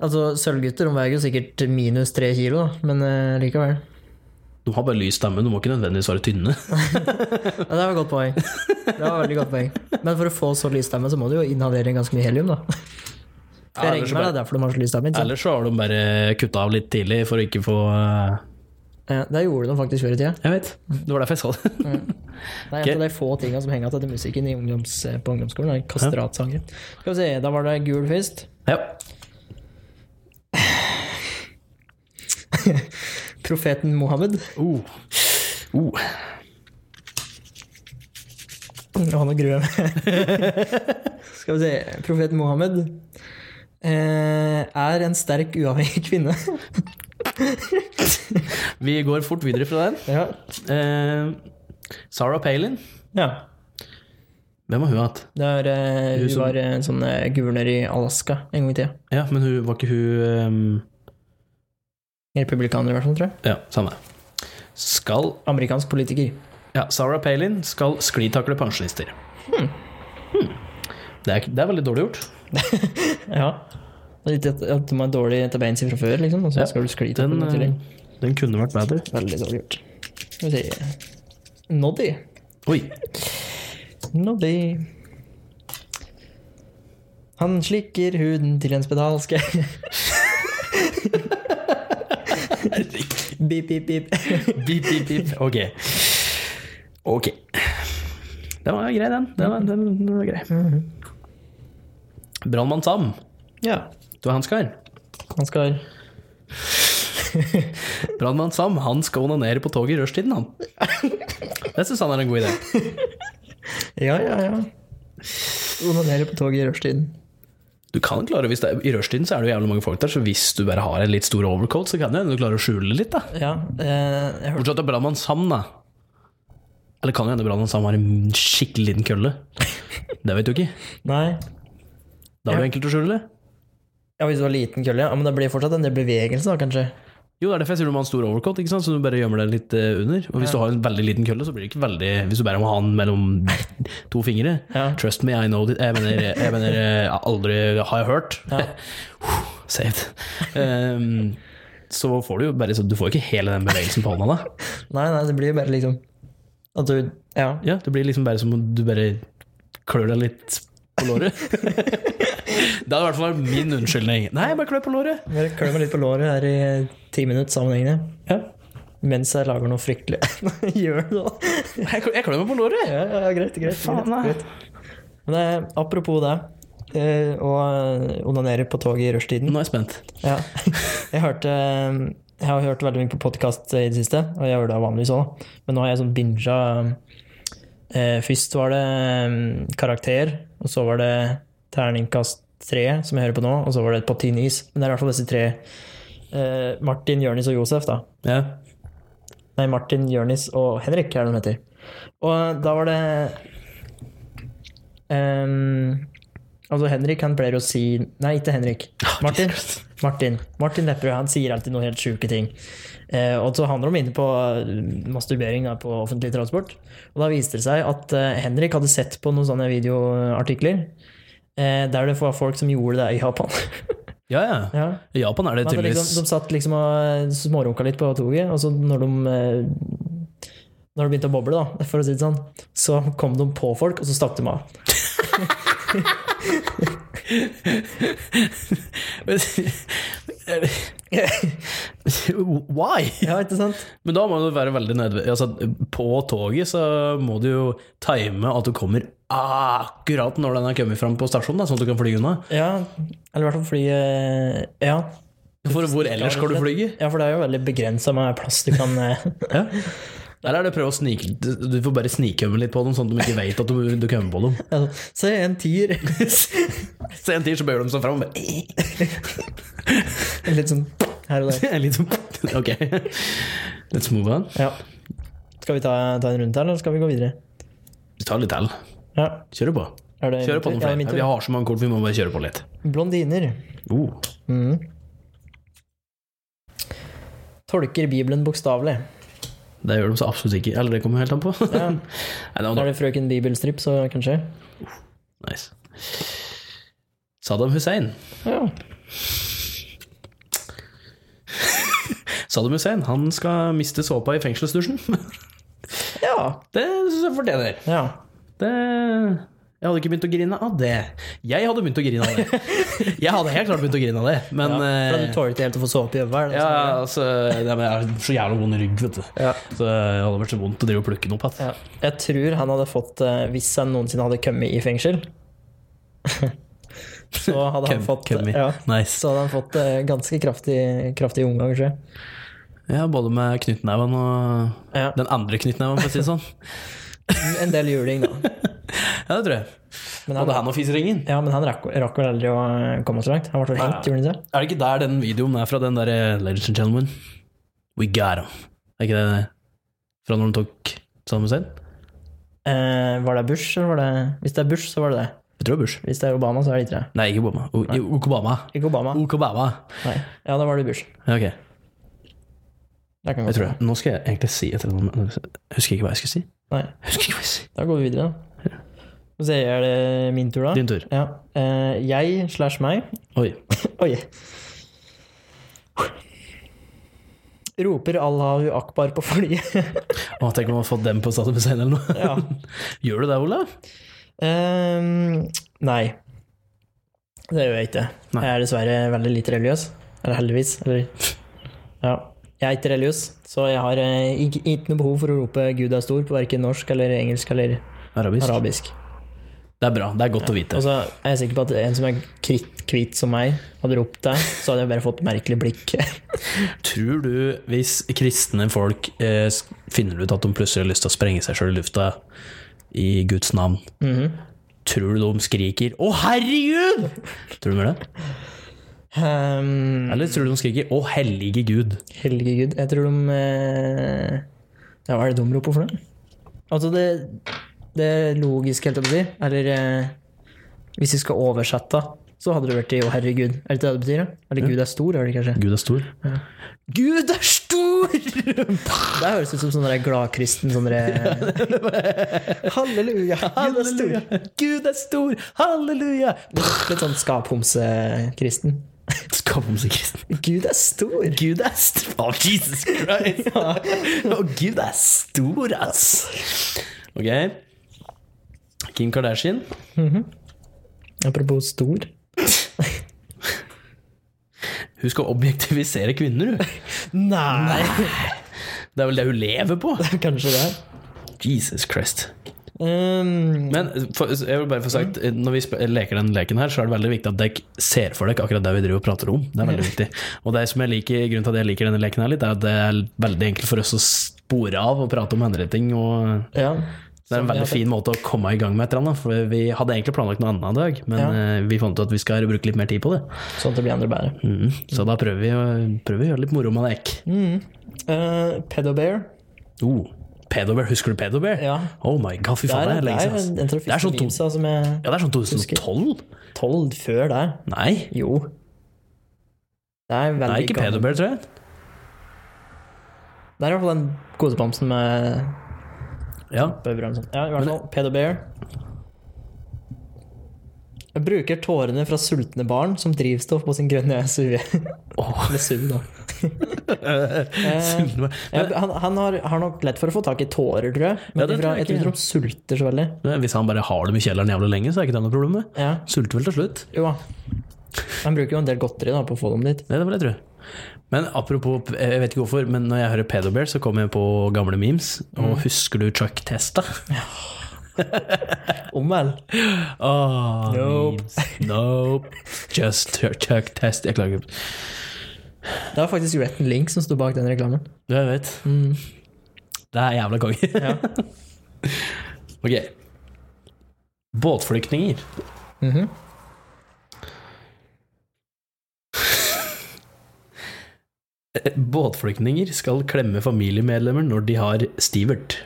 Altså, sølvgutter de veier jo sikkert minus tre kilo, da, men eh, likevel. De har bare lys stemme, de må ikke nødvendigvis være tynne. Ja, det var et godt poeng. Det var et veldig godt poeng. Men for å få så lys stemme, så må du jo inhalere ganske mye helium, da. For Ja, jeg regner med ellers så det bare- er sånn. derfor de har så lys stemme. Ikke sant? Ellers så har de bare kutta av litt tidlig for å ikke få eh, Ja, det gjorde de faktisk før i tida. Jeg vet. Det var derfor jeg sa Mm. det. Det er en av de få tinga som henger igjen etter musikken i ungdoms, eh, på ungdomsskolen. er Kastratsangen. Skal vi se, da var det Gul fist. Ja. Profeten Mohammed. Oh. Oh. Og han gruer jeg meg. Skal vi se. Profeten Mohammed eh, er en sterk, uavhengig kvinne. Vi går fort videre fra den. ja. Eh, Sarah Palin. ja. Hvem har hun hatt? Der, eh, Hun hun som- var eh, sånn eh, guvernør i Alaska en gang i tida. Ja, men hun var ikke hun ehm, Republikaner, i hvert fall, tror jeg. Ja, samme. Skal Amerikansk politiker. Ja, Sarah Palin skal sklitakle pensjonister. Hmm. Det, er, ikke- det er veldig dårlig gjort. Ja. Det er Litt at, at de er dårlig til beins fra før, liksom, og så Ja. skal du skli til Den, den i tillegg. eh, den kunne vært bedre. Veldig dårlig gjort. Skal vi se Noddy. Oi. Noddy. Han slikker huden til en spedalske. bip, bip, bip. Bip, bip, bip. Ok. Ok. Den var grei, den. Den var, den, den var grei. Brannmann Sam, Ja. du er hans kar. Han skal Brannmann Sam han skal onanere på toget i rushtiden, han. Det syns han er en god idé. Ja, ja, ja. Onanere på toget i rushtiden. Du kan klare, hvis det er, I rushtiden så er det jo jævlig mange folk der, så hvis du bare har en litt stor overcoat, så kan det hende du klarer å skjule det litt. da Ja, eh, jeg hørte Bortsett fra Brannmann Sam, da. Eller kan jo hende Brannmann Sam har en skikkelig liten kølle. Det vet du ikke. Nei. Da er det jo enkelt å skjule det. Ja, Hvis du har liten kølle, ja. Men det blir fortsatt en del bevegelse, da, kanskje. Jo, det er derfor jeg sier du må ha en stor overcoat, ikke sant? så du bare gjemmer deg litt eh, under. Og hvis du har en veldig liten kølle, så blir det ikke veldig Hvis du bare må ha den mellom to fingre Ja. Trust me, I know it. Jeg mener, jeg mener eh, aldri har jeg hørt. Saved. Ehm, så får du jo bare så Du får ikke hele den bevegelsen på hånda, da. Nei, nei, det blir jo bare liksom At du Ja. Ja, det blir liksom bare som om du bare klør deg litt på låret. det hadde i hvert fall vært min unnskyldning. Nei, bare klør på låret. Bare klør meg litt på låret her i eh, ti minutter sammenhengende. Ja. Mens jeg lager noe fryktelig. Gjør det, da. Jeg, klør, jeg klør meg på låret! Ja, ja, ja, greit, greit. greit, Faen, nei. greit. Men eh, apropos det, eh, å eh, onanere på toget i rushtiden. Nå er jeg spent. Ja. Jeg hørte eh, Jeg har hørt veldig mye på podkast i det siste, og jeg gjør det vanligvis òg, men nå har jeg sånn binga eh, Først var det eh, karakter, og så var det terningkast tre, som jeg hører på nå, og så var det på tynn is. Men det er i hvert fall disse tre. Eh, Martin, Jørnis og Josef, da. Ja. Nei, Martin, Jørnis og Henrik er det de heter. Og da var det ehm, Altså, Henrik han pleier å si Nei, ikke Henrik. Martin. Martin Martin Lepperød han sier alltid noen helt sjuke ting. Eh, og så handler de inne på eh, masturbering da, på offentlig transport. Og da viste det seg at eh, Henrik hadde sett på noen sånne videoartikler eh, der det var folk som gjorde det i Japan. Ja, ja. ja. I Japan er det Nei, men tydeligvis liksom, de satt liksom og smårunka litt på toget, og så når de eh, Når det begynte å boble, da, for å si det sånn, så kom de på folk, og så stakk de av. Why? Ja, ikke sant? Men da må du være veldig nødvendig altså, På toget så må du jo time at du kommer akkurat når den er kommet fram på stasjonen, da, sånn at du kan fly unna. Ja, eller i hvert fall fly eh, Ja. For hvor ellers skal du flyge? Ja, for det er jo veldig begrensa med plass du kan eh, Ja. Eller er det prøve å snike Du du får bare snikømme litt på dem, sånn at de ikke vet at du, du kommer på dem. altså, Se, en tier! Så en tid så bøyer de seg fram. og bare- «Eh, Litt sånn her og der. Litt sånn Ok. Let's move on. Ja. Skal vi ta, ta en runde til, eller skal vi gå videre? Vi tar litt til. Ja. Kjører på. Er det Kjører på min tur? Ja, noen flere. min tur. vi har så mange kort, vi må bare kjøre på litt. Blondiner. Oh. Mm. Tolker Bibelen bokstavelig. Det gjør de så absolutt ikke. Eller det kommer helt an på. Ja. Nei, det var Da er det frøken Bibelstrip, så kanskje. nice. Saddam Hussein. Ja. Saddam Hussein han skal miste såpa i fengselsdusjen. Ja. Det syns jeg fortjener. ja. Det Jeg hadde ikke begynt å grine av det. Jeg hadde begynt å grine av det. Jeg hadde helt klart begynt å grine av det, men ja. For at eh, du tåler ikke helt å få såpe i øyet? er det ja, sånn? altså, det er, jeg har så jævla vond rygg, vet du. Ja. Så det hadde vært så vondt å drive og plukke den opp igjen. Ja. Jeg tror han hadde fått eh, Hvis han noensinne hadde kommet i fengsel, så hadde han Køm- fått kømmi. ja, Nice. Så hadde han fått eh, ganske kraftig, kraftig omgang, tror jeg. Ja, både med knyttneven og Ja. den andre knyttneven, for å si det sånn. En del juling, da. Ja, det tror jeg. Men Både han, han og fiseringen. ja, men han rakk, rakk vel aldri å komme så langt? Han ble vel hengt, gjorde han ikke? det? Er det ikke der den videoen er fra, den derre Ladies and Gentlemen? We got 'em. Er ikke det fra når de tok Saddam Hussein? Eh, var det Bush, eller var det Hvis det er Bush, så var det det. Jeg tror det er Bush. Hvis det er Obama, så er det ikke det. Nei, ikke Obama. O i- Okobama. Ikke Obama. Okobama. Nei. Ja, da var det Bush. Ja, Ok, Det kan jeg godt tror det. Nå skal jeg egentlig si et eller annet, men jeg husker ikke hva jeg skulle si. Nei. Jeg husker ikke hva jeg si. Da går vi videre. Og så er det min tur, da. Din tur. Ja. Eh, jeg slash meg Oi. Oi. Roper Allahu akbar på flyet. Å, tenk om man har fått dem på Saddam Hussein eller noe. ja. Gjør du det, Ola? Ehm, nei. Det gjør jeg ikke. Nei. Jeg er dessverre veldig lite religiøs. Eller heldigvis. Eller Ja. Jeg er ikke religiøs, så jeg har eh, ikke, ikke noe behov for å rope 'Gud er stor' på verken norsk eller engelsk eller Arabisk. Altså- arabisk. Det er bra. Det er godt å vite. Og så er jeg sikker på at en som er kritt hvit som meg, hadde ropt det, så hadde jeg bare fått merkelig blikk. Tror du hvis kristne folk eh, s- finner ut at de plutselig har lyst til å sprenge seg sjøl i lufta i Guds navn, Mhm. tror du de skriker 'Å, herregud'? Tror du de gjør det? Ehm, Eller tror du de skriker 'Å, hellige Gud'? Helge Gud. Jeg tror de eh, Ja, hva er det de roper for noe? Altså, det, det logiske, helt å si, eller eh, hvis vi skal oversette, så hadde det vært i 'Å, herregud'. Er det ikke det det betyr? da? Eller 'Gud er stor', er det kanskje? Gud er stor. Gud er stor! Det høres ut som sånn der gladkristen sånn der, eh, Halleluja! Gud er stor! Halleluja! Gud er stor! Halleluja! Litt sånn skaphomsekristen. Skapomsekristen. Gud er stor! Gud er stor! Å, Jesus Christ! Å, Gud er stor, ass! Ok. Kim Kardashian. Apropos stor. Hun skal objektivisere kvinner, hun. Nei! Det er vel det hun lever på. Kanskje det. Jesus Christ. Um, Men for, jeg vil bare få sagt når vi sp- leker den leken her, så er det veldig viktig at dere ser for dere akkurat det vi driver og prater om. Det er veldig viktig. Og det som jeg liker, grunnen til at jeg liker denne leken her litt, er at det er veldig enkelt for oss å spore av og prate om andre ting. Og ja. det er en veldig fin måte å komme i gang med et eller annet. For vi hadde egentlig planlagt noe annet i dag, men Ja. eh, vi fant ut at vi skal bruke litt mer tid på det. Sånn at det blir enda bedre. Mhm. Så da prøver vi, å, prøver vi å gjøre litt moro med det. Mm. Eh, Pedobear. Oh, pedobear. Husker du pedobear? Ja. Oh my god, fy Det er, faen, det er det lenge er, siden. ass. en av de Det er første sånn to- memesa som er Ja, det er sånn 2012? tolv før der. Nei, Jo. Det er det veldig er ikke gammel. pedobear, tror jeg. Det er i hvert fall den godtebamsen med Ja. bøbrer og sånn. Ja, i hvert fall Pedobear. Jeg bruker tårene fra sultne barn som drivstoff på sin grønne SUV. Åh. Eller SUV, da. Sulten var- Ja, han han har, har nok lett for å få tak i tårer, tror jeg. Men Ja, ifra, det tror jeg jeg, tror ikke. ikke de sulter så veldig. Men Hvis han bare har dem i kjelleren jævlig lenge, så er ikke det noe problem. det. Ja, Sulter vel til slutt. jo da. Han bruker jo en del godteri da, på å få dem dit. Det er det vel jeg tror. Men apropos, jeg vet ikke hvorfor, men når jeg hører pedobear, så kommer jeg på gamle memes. Mm. Og husker du Chuck Testa? Om vel. Åh, Nope. memes. Nope. Just Chuck Test. Jeg klager. Det var faktisk Retten Link som sto bak den reklamen. Ja, Jeg vet. Det er jævla konge. Ja. Ok. Båtflyktninger. Mm-hmm. Mhm. Eh, Båtflyktninger skal klemme familiemedlemmer når de har stivert.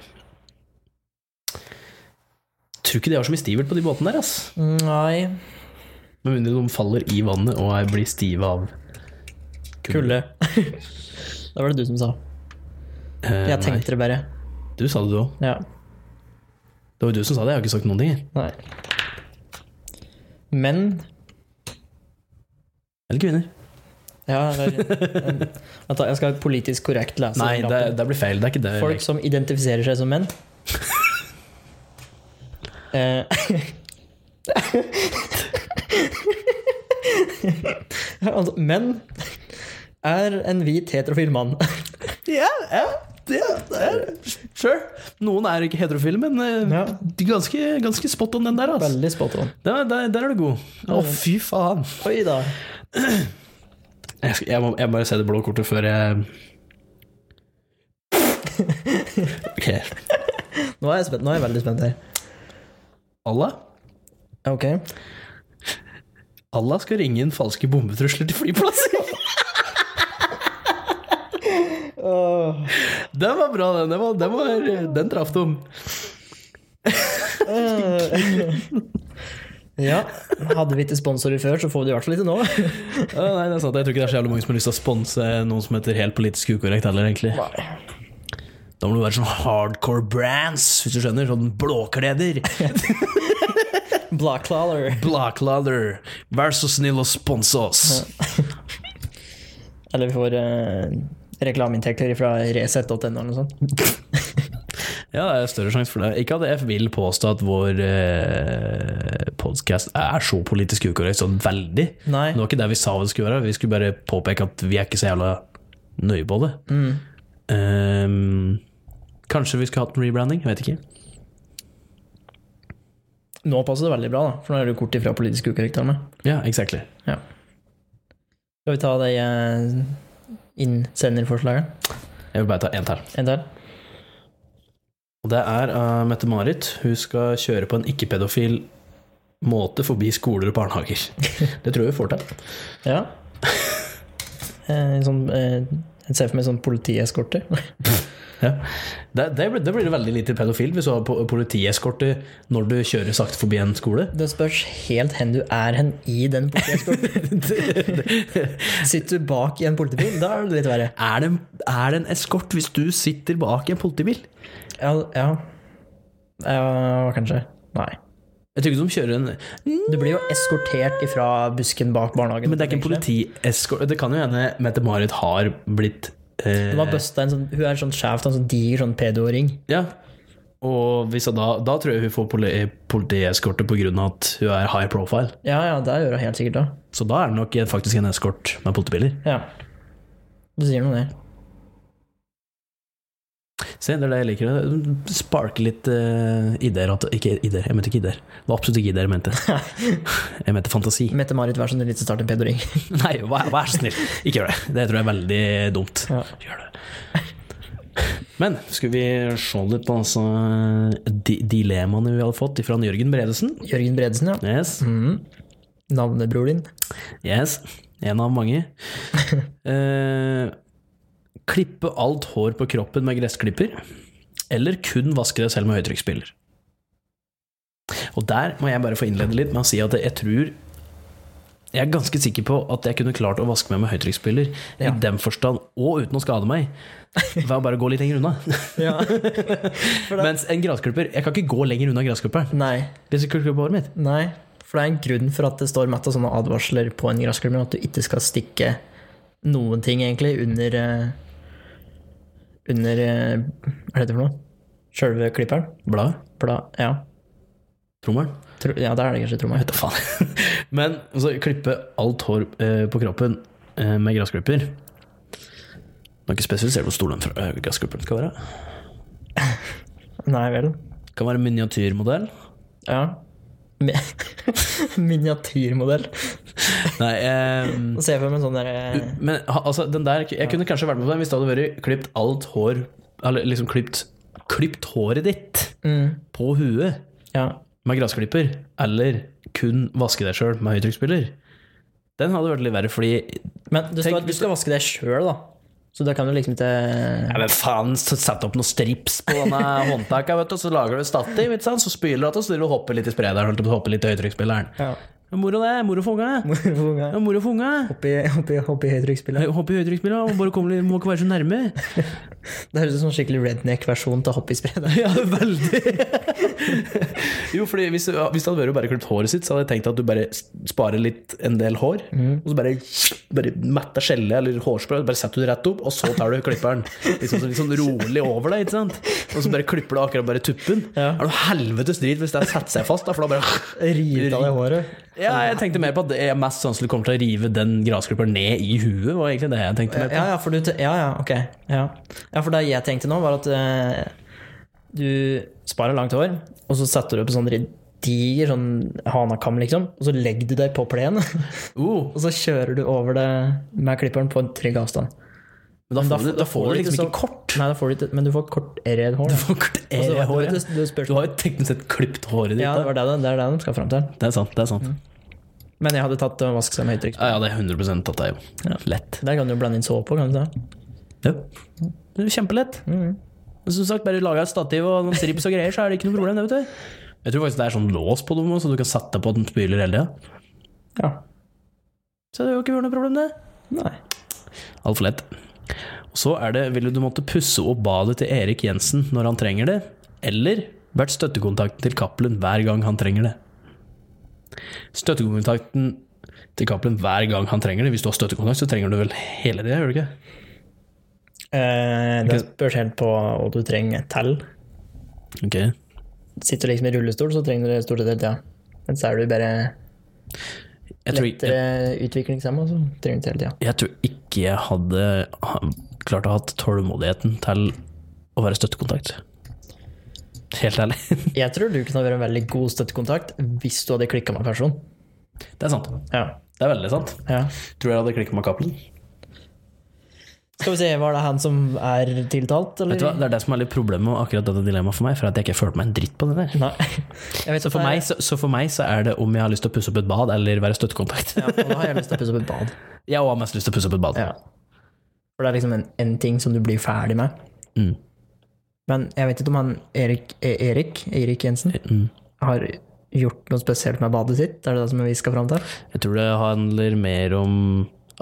Tror ikke de har så mye stivert på de båtene der, ass. Nei. Med mindre de faller i vannet og er- blir stive av Kulde. da var det du som sa. Eh, Jeg tenkte det bare. Nei, du sa det, du òg. Ja. Det var jo du som sa det. Jeg har ikke sagt noen ting. jeg. Nei. Men Eller kvinner. Ja, eller Vent da, jeg skal politisk korrekt lese Nei, den det, rappen. det blir feil. Det er ikke det. Folk som identifiserer seg som menn. Eh, altså, menn er en hvit heterofil mann. Ja, ja, ja, sure. Noen er ikke heterofile, men eh, Ja. de er ganske, ganske spot on den der. ass. Veldig spot on. Der, der, der er du god. Å, fy faen. Oi da. Jeg, skal, jeg, må, jeg må bare se det blå kortet før jeg Ok. Nå er jeg, spent. Nå er jeg veldig spent her. Allah Ok. Allah skal ringe inn falske bombetrusler til flyplasser. Den var bra, den. Den, var, den, var, den traff dem. Ja, Hadde vi ikke sponsorer før, så får vi det i hvert fall ikke nå. Ja, nei, det er sant. Jeg tror ikke det er så jævlig mange som har lyst til å sponse noen som heter helt politisk ukorrekt heller, egentlig. Da må du være sånn hardcore brands, hvis du skjønner. Sånn blåkleder. Black collar. Blåklader. Vær så snill å sponse oss. Eller vi får eh, reklameinntekter fra resett.no eller noe sånt. Ja, det er større sjanse for det. Ikke at jeg vil påstå at vår eh, podkast er så politisk ukorrekt, sånn veldig. Nei. Det var ikke det vi sa det skulle være, vi skulle bare påpeke at vi er ikke så jævla nøye på det. Ehm, kanskje vi skulle hatt en rebranding, jeg vet ikke. Nå passer det veldig bra, da, for nå er det jo kort ifra politisk ukorrekt. Arne. Ja, exactly. Ja. Skal vi ta de eh, innsenderforslagene Jeg vil bare ta én til. en til? Og det er av Mette-Marit. Hun skal kjøre på en ikke-pedofil måte forbi skoler og barnehager. Det tror jeg hun får til. Ja. Eh, en sånn, eh, jeg ser for meg sånn politieskorte. Ja. Det, det, blir, det blir veldig lite pedofilt hvis du har po- politieskorte når du kjører sakte forbi en skole. Det spørs helt hen du er hen i den politieskorten. Sitter du bak i en politibil, da er det litt verre. Er det, er det en eskort hvis du sitter bak i en politibil? Ja, ja. ja kanskje. Nei. Jeg tror ikke de kjører en Du blir jo eskortert ifra busken bak barnehagen. Men det er ikke en politieskorte. Det kan jo hende Mette-Marit har blitt eh, Hun har busta en sånn Hun er sånn skjevt, en sånn diger sånn pedo-ring. Ja. Og hvis hun da, da tror jeg hun får poli- politieskorte pga. at hun er high profile. Ja, ja, det gjør hun helt sikkert, da. Så da er det nok faktisk en eskort med politibiler. Ja. Du sier noe, det. Se, det er det jeg liker. Det sparker litt eh, ideer. At, ikke ideer, jeg mente ikke ideer. Det var absolutt ikke ideer jeg mente. Jeg mente fantasi. Mette-Marit, vær så snill, ikke start en pedo-ring. Nei, vær, vær så snill. Ikke gjør det. Det tror jeg er veldig dumt. Ja. Ikke Gjør det. Men skal vi se litt på altså, di dilemmaene vi hadde fått fra Jørgen Bredesen? Jørgen Bredesen, ja. Yes. Navnebror din. yes. En av mange. Eh, klippe alt hår på kroppen med gressklipper, eller kun vaske deg selv med høytrykksspyler. Og der må jeg bare få innlede litt med å si at jeg tror Jeg er ganske sikker på at jeg kunne klart å vaske meg med høytrykksspyler, i den forstand, og uten å skade meg, ved å bare gå litt lenger unna. Ja. Mens en gressklipper Jeg kan ikke gå lenger unna gressklipperen. Nei. Hvis jeg klipper håret mitt. Nei. For det er en grunn for at det står matt og sånne advarsler på en gressklipper, at du ikke skal stikke noen ting, egentlig, under eh, Under eh, Hva heter det for noe? Sjølve klipperen? Bladet. Blad? Ja. Trommelen. Tro, ja, der er det kanskje tromma. Jeg vet da faen. Men altså, klippe alt hår eh, på kroppen eh, med gressklipper Nå er ikke spesifisert hvor stor den fra- eh, gressklipperen skal være. Nei vel. Kan være miniatyrmodell. Ja. Mi- Miniatyrmodell. Nei, eh, Nå ser jeg for meg en sånn derre men ha- altså, den der Jeg kunne kanskje vært med på den hvis det hadde vært klipt alt hår Eller liksom klipt, klipt håret ditt på huet mm, Ja. med gressklipper, eller kun vaske deg sjøl med høytrykksspiller. Den hadde vært litt verre, fordi Men du skal, Tenk du skal vaske deg sjøl, da. Så da kan du liksom ikke Ja, men faen, så sett opp noen strips på denne håndtaket, vet du, så lager du et stativ, ikke sant? så spyler du at det, så driver du og hopper litt i sprederen, holdt jeg på å hoppe litt i høytrykksspilleren. Ja. Det er Moro det, moro for unga. Det Hoppe er Moro for unga. i, hoppe i, hoppe i høytrykksspillet. Hoppe i høytrykksspilleren, og bare komme litt, må ikke være så nærme. Det høres ut som en skikkelig redneck-versjon til hoppe i sprederen. Ja, veldig. Jo, fordi hvis, ja, hvis det hadde vært bare klippet håret sitt, så hadde jeg tenkt at du bare sparer litt en del hår, og så bare, bare metter skjellet eller hårspray, bare setter du det rett opp, og så tar du klipperen. Litt sånn, litt sånn rolig over deg, ikke sant? Og så bare klipper du akkurat bare tuppen. Ja. Er det noe helvetes drit hvis det setter seg fast, da, for da bare Rive av deg håret. Ja, jeg tenkte mer på at jeg mest sannsynlig kommer til å rive den grasklipperen ned i huet, var egentlig det jeg tenkte mer på. Ja, ja, for du te- Ja, ja, ok. Ja. ja, for det jeg tenkte nå, var at eh, du sparer langt hår, og så setter du på sånn ri- diger sånn hanakam, liksom, og så legger du deg på plenen, og Oh, så kjører du over det med klipperen på en trygg avstand. men da får, du, da får du liksom så- ikke kort. Nei, da får du ikke, men du får kort red hår. da. Og så- Hår, du, du, du spørs- Altså, Du har jo teknisk sett klippet håret ditt. ja, det, da. var det, det er det de skal fram til. Det er sant. det er sant Men jeg hadde tatt eh, vask seg med høytrykk. Ja, ja, det er 100 tatt deg, jo. Ja. Lett. Der kan du jo blande inn såpe òg, kan du ikke? Ja. Det er jo kjempelett. Men Som sagt, bare laga et stativ og noen strips og greier, så er det ikke noe problem. det vet du Jeg tror faktisk det er sånn lås på dem, også, så du kan sette på at den spyler hele tida. det? Ja. Så det er jo ikke noe problem, det. Nei. Altfor lett. Og så er det ville du måtte pusse opp badet til Erik Jensen når han trenger det, eller vært støttekontakten til Cappelen hver gang han trenger det. Støttekontakten til Cappelen hver gang han trenger det. Hvis du har støttekontakt, så trenger du vel hele det, gjør du ikke? Eh, det spørs helt på hva du trenger til. Ok. Sitter du liksom i rullestol, så trenger du det stort sett hele tida. Men så er du bare Jeg tror, jeg, lettere utviklingshemma, så trenger du det hele tida. jeg tror ikke jeg hadde ha- klart å ha hatt tålmodigheten til å være støttekontakt. Helt ærlig. Jeg tror du kunne vært en veldig god støttekontakt hvis du hadde klikka med en person. Det er sant. Ja. Det er veldig sant. ja. Tror du jeg hadde klikket med Cappelen? Skal vi se, var det han som er tiltalt, eller? Vet du hva, Det er det som er litt problemet med akkurat dette dilemmaet for meg. For at jeg ikke følte meg en dritt på det der. Nei. Jeg vet Så for, meg, så, så for meg så er det om jeg har lyst til å pusse opp et bad eller være støttekontakt. ja, Og da har jeg lyst til å pusse opp et bad. Jeg har også mest lyst til å pusse opp et bad. Ja. For det er liksom en, en ting som du blir ferdig med. Mm. Men jeg vet ikke om han Erik, eh, Erik, Erik Jensen Mm. har gjort noe spesielt med badet sitt. Er det det som vi skal fram til? Jeg tror det handler mer om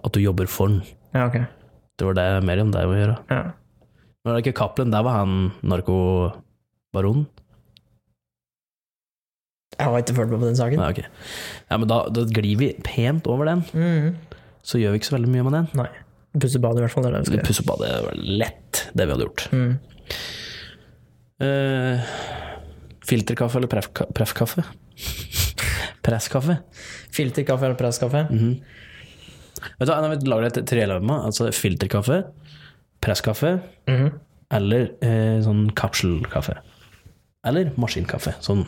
at du jobber for den. Ja, ok. Det var det mer om deg å gjøre. Ja. Men var det ikke Cappelen? Der var han narkobaronen? Jeg har ikke følt meg på den saken. Nei, ok. Ja, men da, da glir vi pent over den. Mm. Så gjør vi ikke så veldig mye med den. Nei. Pusse badet, i hvert fall. Det er det vi skal Vi gjøre. pusser opp badet. Det var lett, det vi hadde gjort. Mm. Eh, filterkaffe eller preffka- preffkaffe? Presskaffe? Filterkaffe eller presskaffe? Mhm. Vet du, hva, nei, vi lager et trelemma. Altså filterkaffe, presskaffe Mhm. eller eh, sånn kapselkaffe. Eller maskinkaffe. Sånn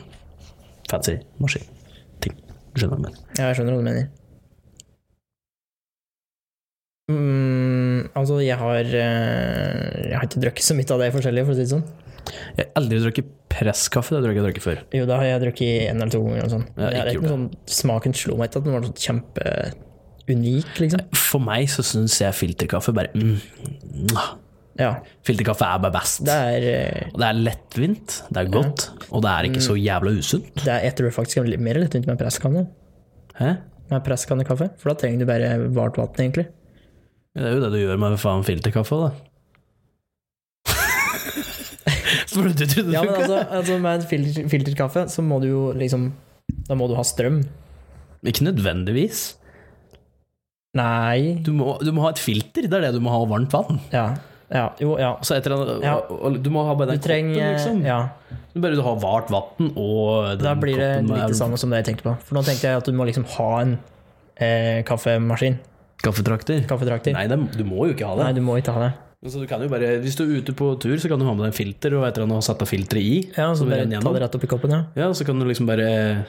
fancy maskinting. Du skjønner hva jeg mener. Ja, jeg skjønner hva du mener. Mm, altså, jeg har eh, Jeg har ikke drukket så mye av det forskjellige, for å si det sånn. Jeg har aldri drukket presskaffe. Det tror jeg ikke jeg har drukket før. Jo, det har jeg drukket én eller to ganger. Og sånn. Jeg har Det er ikke ikke noe sånn, smaken slo meg ikke at den var sånn kjempeunik, liksom. For meg så syns jeg filterkaffe bare mm, mwah. Ja, Filterkaffe er bare best. det er, eh, Og det er lettvint, det er godt, og det er ikke Mm. så jævla usunt. det er Jeg tror faktisk det er litt- mer lettvint med presskanne. Hæ? Med presskannekaffe, for da trenger du bare vart vann, egentlig. Det er jo det du gjør med faen filterkaffe, da. Som du trodde Ja, du men altså, altså med en filter, filterkaffe, så må du jo liksom Da må du ha strøm. Ikke nødvendigvis. Nei Du må, du må ha et filter, det er det du må ha, og varmt vann. Ja. ja. Jo, ja. Altså et eller annet, Ja. og, og, du må ha bare Du den trenger koppen, liksom. Ja. Du Bare du har vart vann og den Da blir det litt sånn koppen med det samme som det jeg tenkte på. For nå tenkte jeg at du må liksom ha en eh, kaffemaskin. kaffetrakter. Kaffetrakter. Nei. Nei, det- du må jo ikke ha det. du må ikke ha det. Så du kan jo bare, hvis du er ute på tur, så kan du ha med deg en filter og et eller annet og sette filteret i. Ja, så som bare renner ta gjennom. det rett opp i koppen, ja. Ja, så kan du liksom bare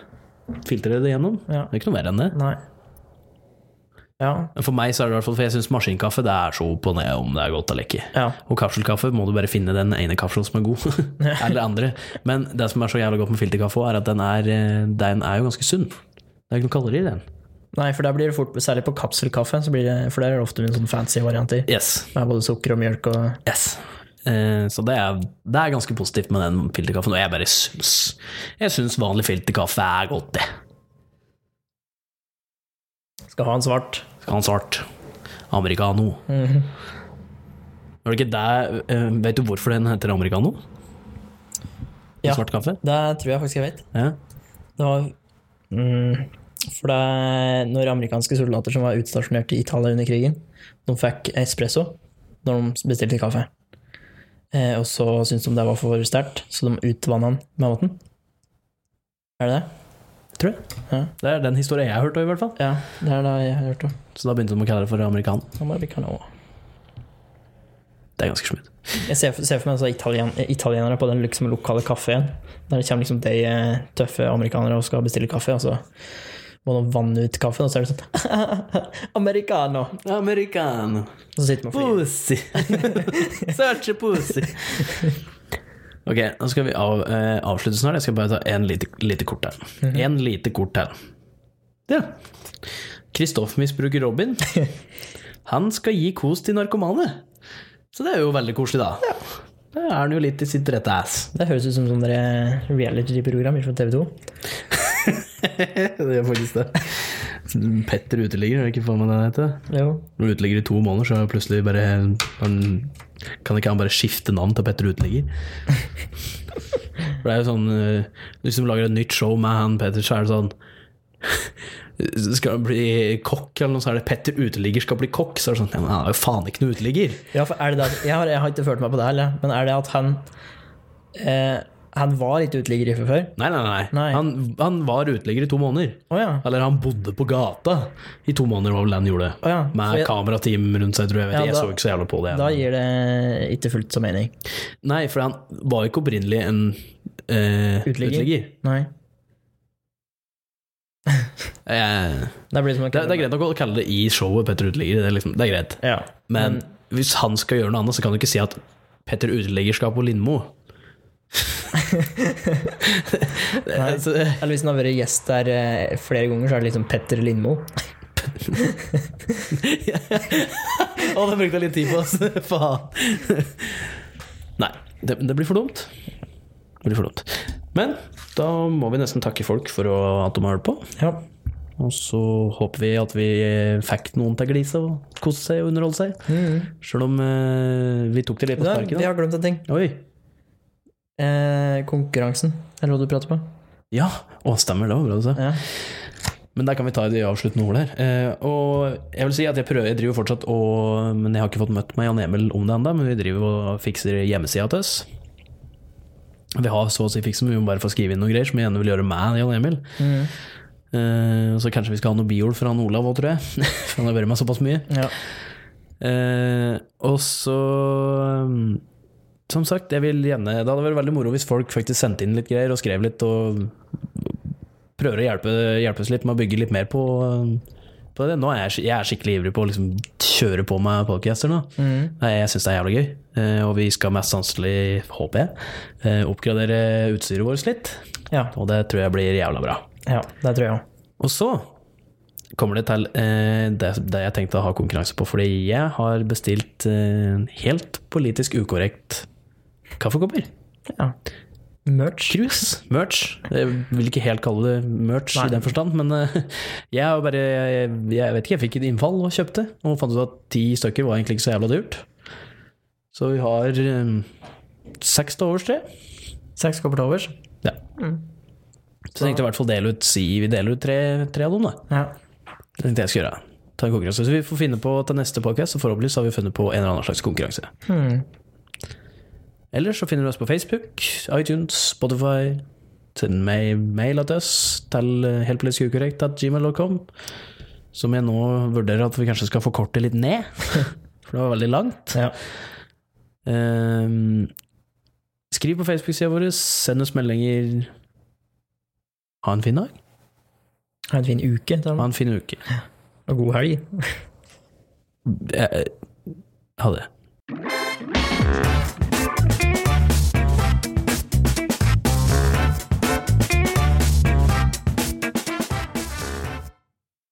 filtre det gjennom. Ja. Det er ikke noe mer enn det. Nei. Ja. Men For meg så er det i hvert fall, for jeg syns maskinkaffe det er så opp og ned om det er godt eller ikke. Ja. Og kapselkaffe må du bare finne den ene kapselen som er god, eller andre. Men det som er så jævlig godt med filterkaffe, også, er at den er, eh, den er jo ganske sunn. Det er ikke noe kalorier i den. Nei, for der blir det fort, særlig på kapselkaffe, så blir det, for der er det ofte en sånn fancy varianter. Yes. Med både sukker og mjølk og Yes. Eh, Så det er, det er ganske positivt med den filterkaffen. Og jeg bare syns Jeg syns vanlig filterkaffe er godt, det. Skal ha en svart. Skal ha en svart. Americano. Mhm. Er det ikke det eh, Vet du hvorfor den heter americano? Ja. Svart kaffe? Det tror jeg faktisk jeg vet. Ja. Det var mm, For det er når amerikanske soldater som var utstasjonert i Italia under krigen, de fikk espresso når de bestilte kaffe. Eh, og så syntes de det var for sterkt, så de utvanna den med vann. Er det det? Tror jeg. Ja. Det er den historien jeg har hørt, i hvert fall. Ja, det er det jeg har hørt om. Så da begynte de å kalle det for americano. Americano. Det er ganske smooth. Jeg ser, ser for meg altså, italien, italienere på den liksom, lokale kaffen. Der det kommer liksom de eh, tøffe amerikanere og skal bestille kaffe. Og så må de vanne ut kaffen, og så er det sånn Americano! Americano. Og så sitter man og flirer. Pussy. Search pussy. Ok, nå skal vi av, eh, avslutte snart. Jeg skal bare ta en lite, lite kort her. En lite kort her. Mhm. Ja. Kristoff-misbruker Robin. Han skal gi kos til narkomane. Så det er jo veldig koselig, da. Da er han jo litt i sitt rette ass. Det høres ut som sånne reality-program fra TV 2. det er faktisk det. Petter uteligger, er det ikke faen meg det han heter? Jo. Når du uteligger i to måneder, så er det plutselig bare han, Kan ikke han bare skifte navn til Petter Uteligger? For det er jo sånn eh, Hvis du lager et nytt show med han Petter, så er det sånn Skal han bli kokk, eller noe, så er det Petter Uteligger skal bli kokk. Så er det sånn Ja, men han er jo faen ikke noen uteligger. Ja, for er det det at, jeg, har, jeg har ikke følt meg på det heller, men er det at han eh, Han var litt uteligger i før? Nei, nei, nei. Nei. Han, han var uteligger i to måneder. Å ja. Eller han bodde på gata i to måneder, var vel det han gjorde. Å ja. Med Så jeg- kamerateam rundt seg, tror jeg. Jeg, vet. Ja, jeg da- så ikke så jævla på det. Da gir det ikke fullt så mening. Nei, for han var ikke opprinnelig en eh, Uteligger. uteligger. Nei. Eh, Det blir som å det, det er greit nok å kalle det i showet Petter Uteligger, det er, liksom, det er greit. Ja. Men hvis han skal gjøre noe annet, så kan du ikke si at Petter Uteligger skal på Lindmo. Nei. Så, eh, Eller hvis han har vært gjest der eh, flere ganger, så er det liksom Petter Lindmo. Å, det brukte jeg litt tid på, ass. Faen. Nei, det, det blir for dumt. Det blir for dumt. Men da må vi nesten takke folk for å, at de har hørt på. Ja. Og så håper vi at vi fikk noen til å glise og kose seg og underholde seg. Selv om eh, vi tok det litt på Da, sparket. Mm. vi da. har glemt en ting. Oi. Eh, konkurransen. Er det hva du prater på? Ja, å, stemmer, det var bra du sa. Ja. Men der kan vi ta i de avsluttende ordene her. Eh, og jeg vil si at jeg prøver, jeg driver fortsatt og Men jeg har ikke fått møtt meg Jan Emil om det ennå, men vi driver og fikser hjemmesida til oss. Vi har så å si fiksen, men vi må bare få skrive inn noen greier som vi gjerne vil gjøre med Jan Emil. Eh, og så kanskje vi skal ha noe biord fra han Olav òg, tror jeg. For han har vært med såpass mye. ja. Eh, og så um, Som sagt, jeg vil gjerne Det hadde vært veldig moro hvis folk faktisk sendte inn litt greier og skrev litt og prøver å hjelpe, hjelpe oss litt med å bygge litt mer på, på det. Nå er jeg, skik- jeg er skikkelig ivrig på å liksom kjøre på med podcaster nå. Nei, Jeg syns det er jævlig gøy, eh, og vi skal mest sannsynlig, håper jeg, eh, oppgradere utstyret vårt litt. ja. Og det tror jeg blir jævla bra. Ja, det tror jeg òg. Og så kommer det til eh, det, det jeg tenkte å ha konkurranse på, fordi jeg har bestilt eh, helt politisk ukorrekt kaffekopper. Ja. Merch. Krus. Merch. Jeg vil ikke helt kalle det merch Nei. i den forstand, men eh, jeg har bare jeg, jeg vet ikke, jeg fikk et innfall og kjøpte, og fant ut at ti stykker var egentlig ikke så jævla dyrt. Så vi har eh, seks til overs, tror jeg. Seks kopper til overs. Ja. Så tenkte jeg i hvert fall dele ut, si vi deler ut tre, tre av dem, da. Ja. Det tenkte jeg skulle gjøre. Ta en konkurranse. Så vi får finne på til neste podcast, så forhåpentligvis har vi funnet på en eller annen slags konkurranse. Hmm. Eller så finner du oss på Facebook, iTunes, Spotify. Send meg mail til oss til eh, heltpolitiskukorrekt.gmail.com, som jeg nå vurderer at vi kanskje skal forkorte litt ned, for det var veldig langt. ja. Ehm, skriv på Facebook-sida vår, send oss meldinger. Ha en fin dag, Ha en fin uke til ha alle. en fin uke. og god helg. Eh, eh, Ha det.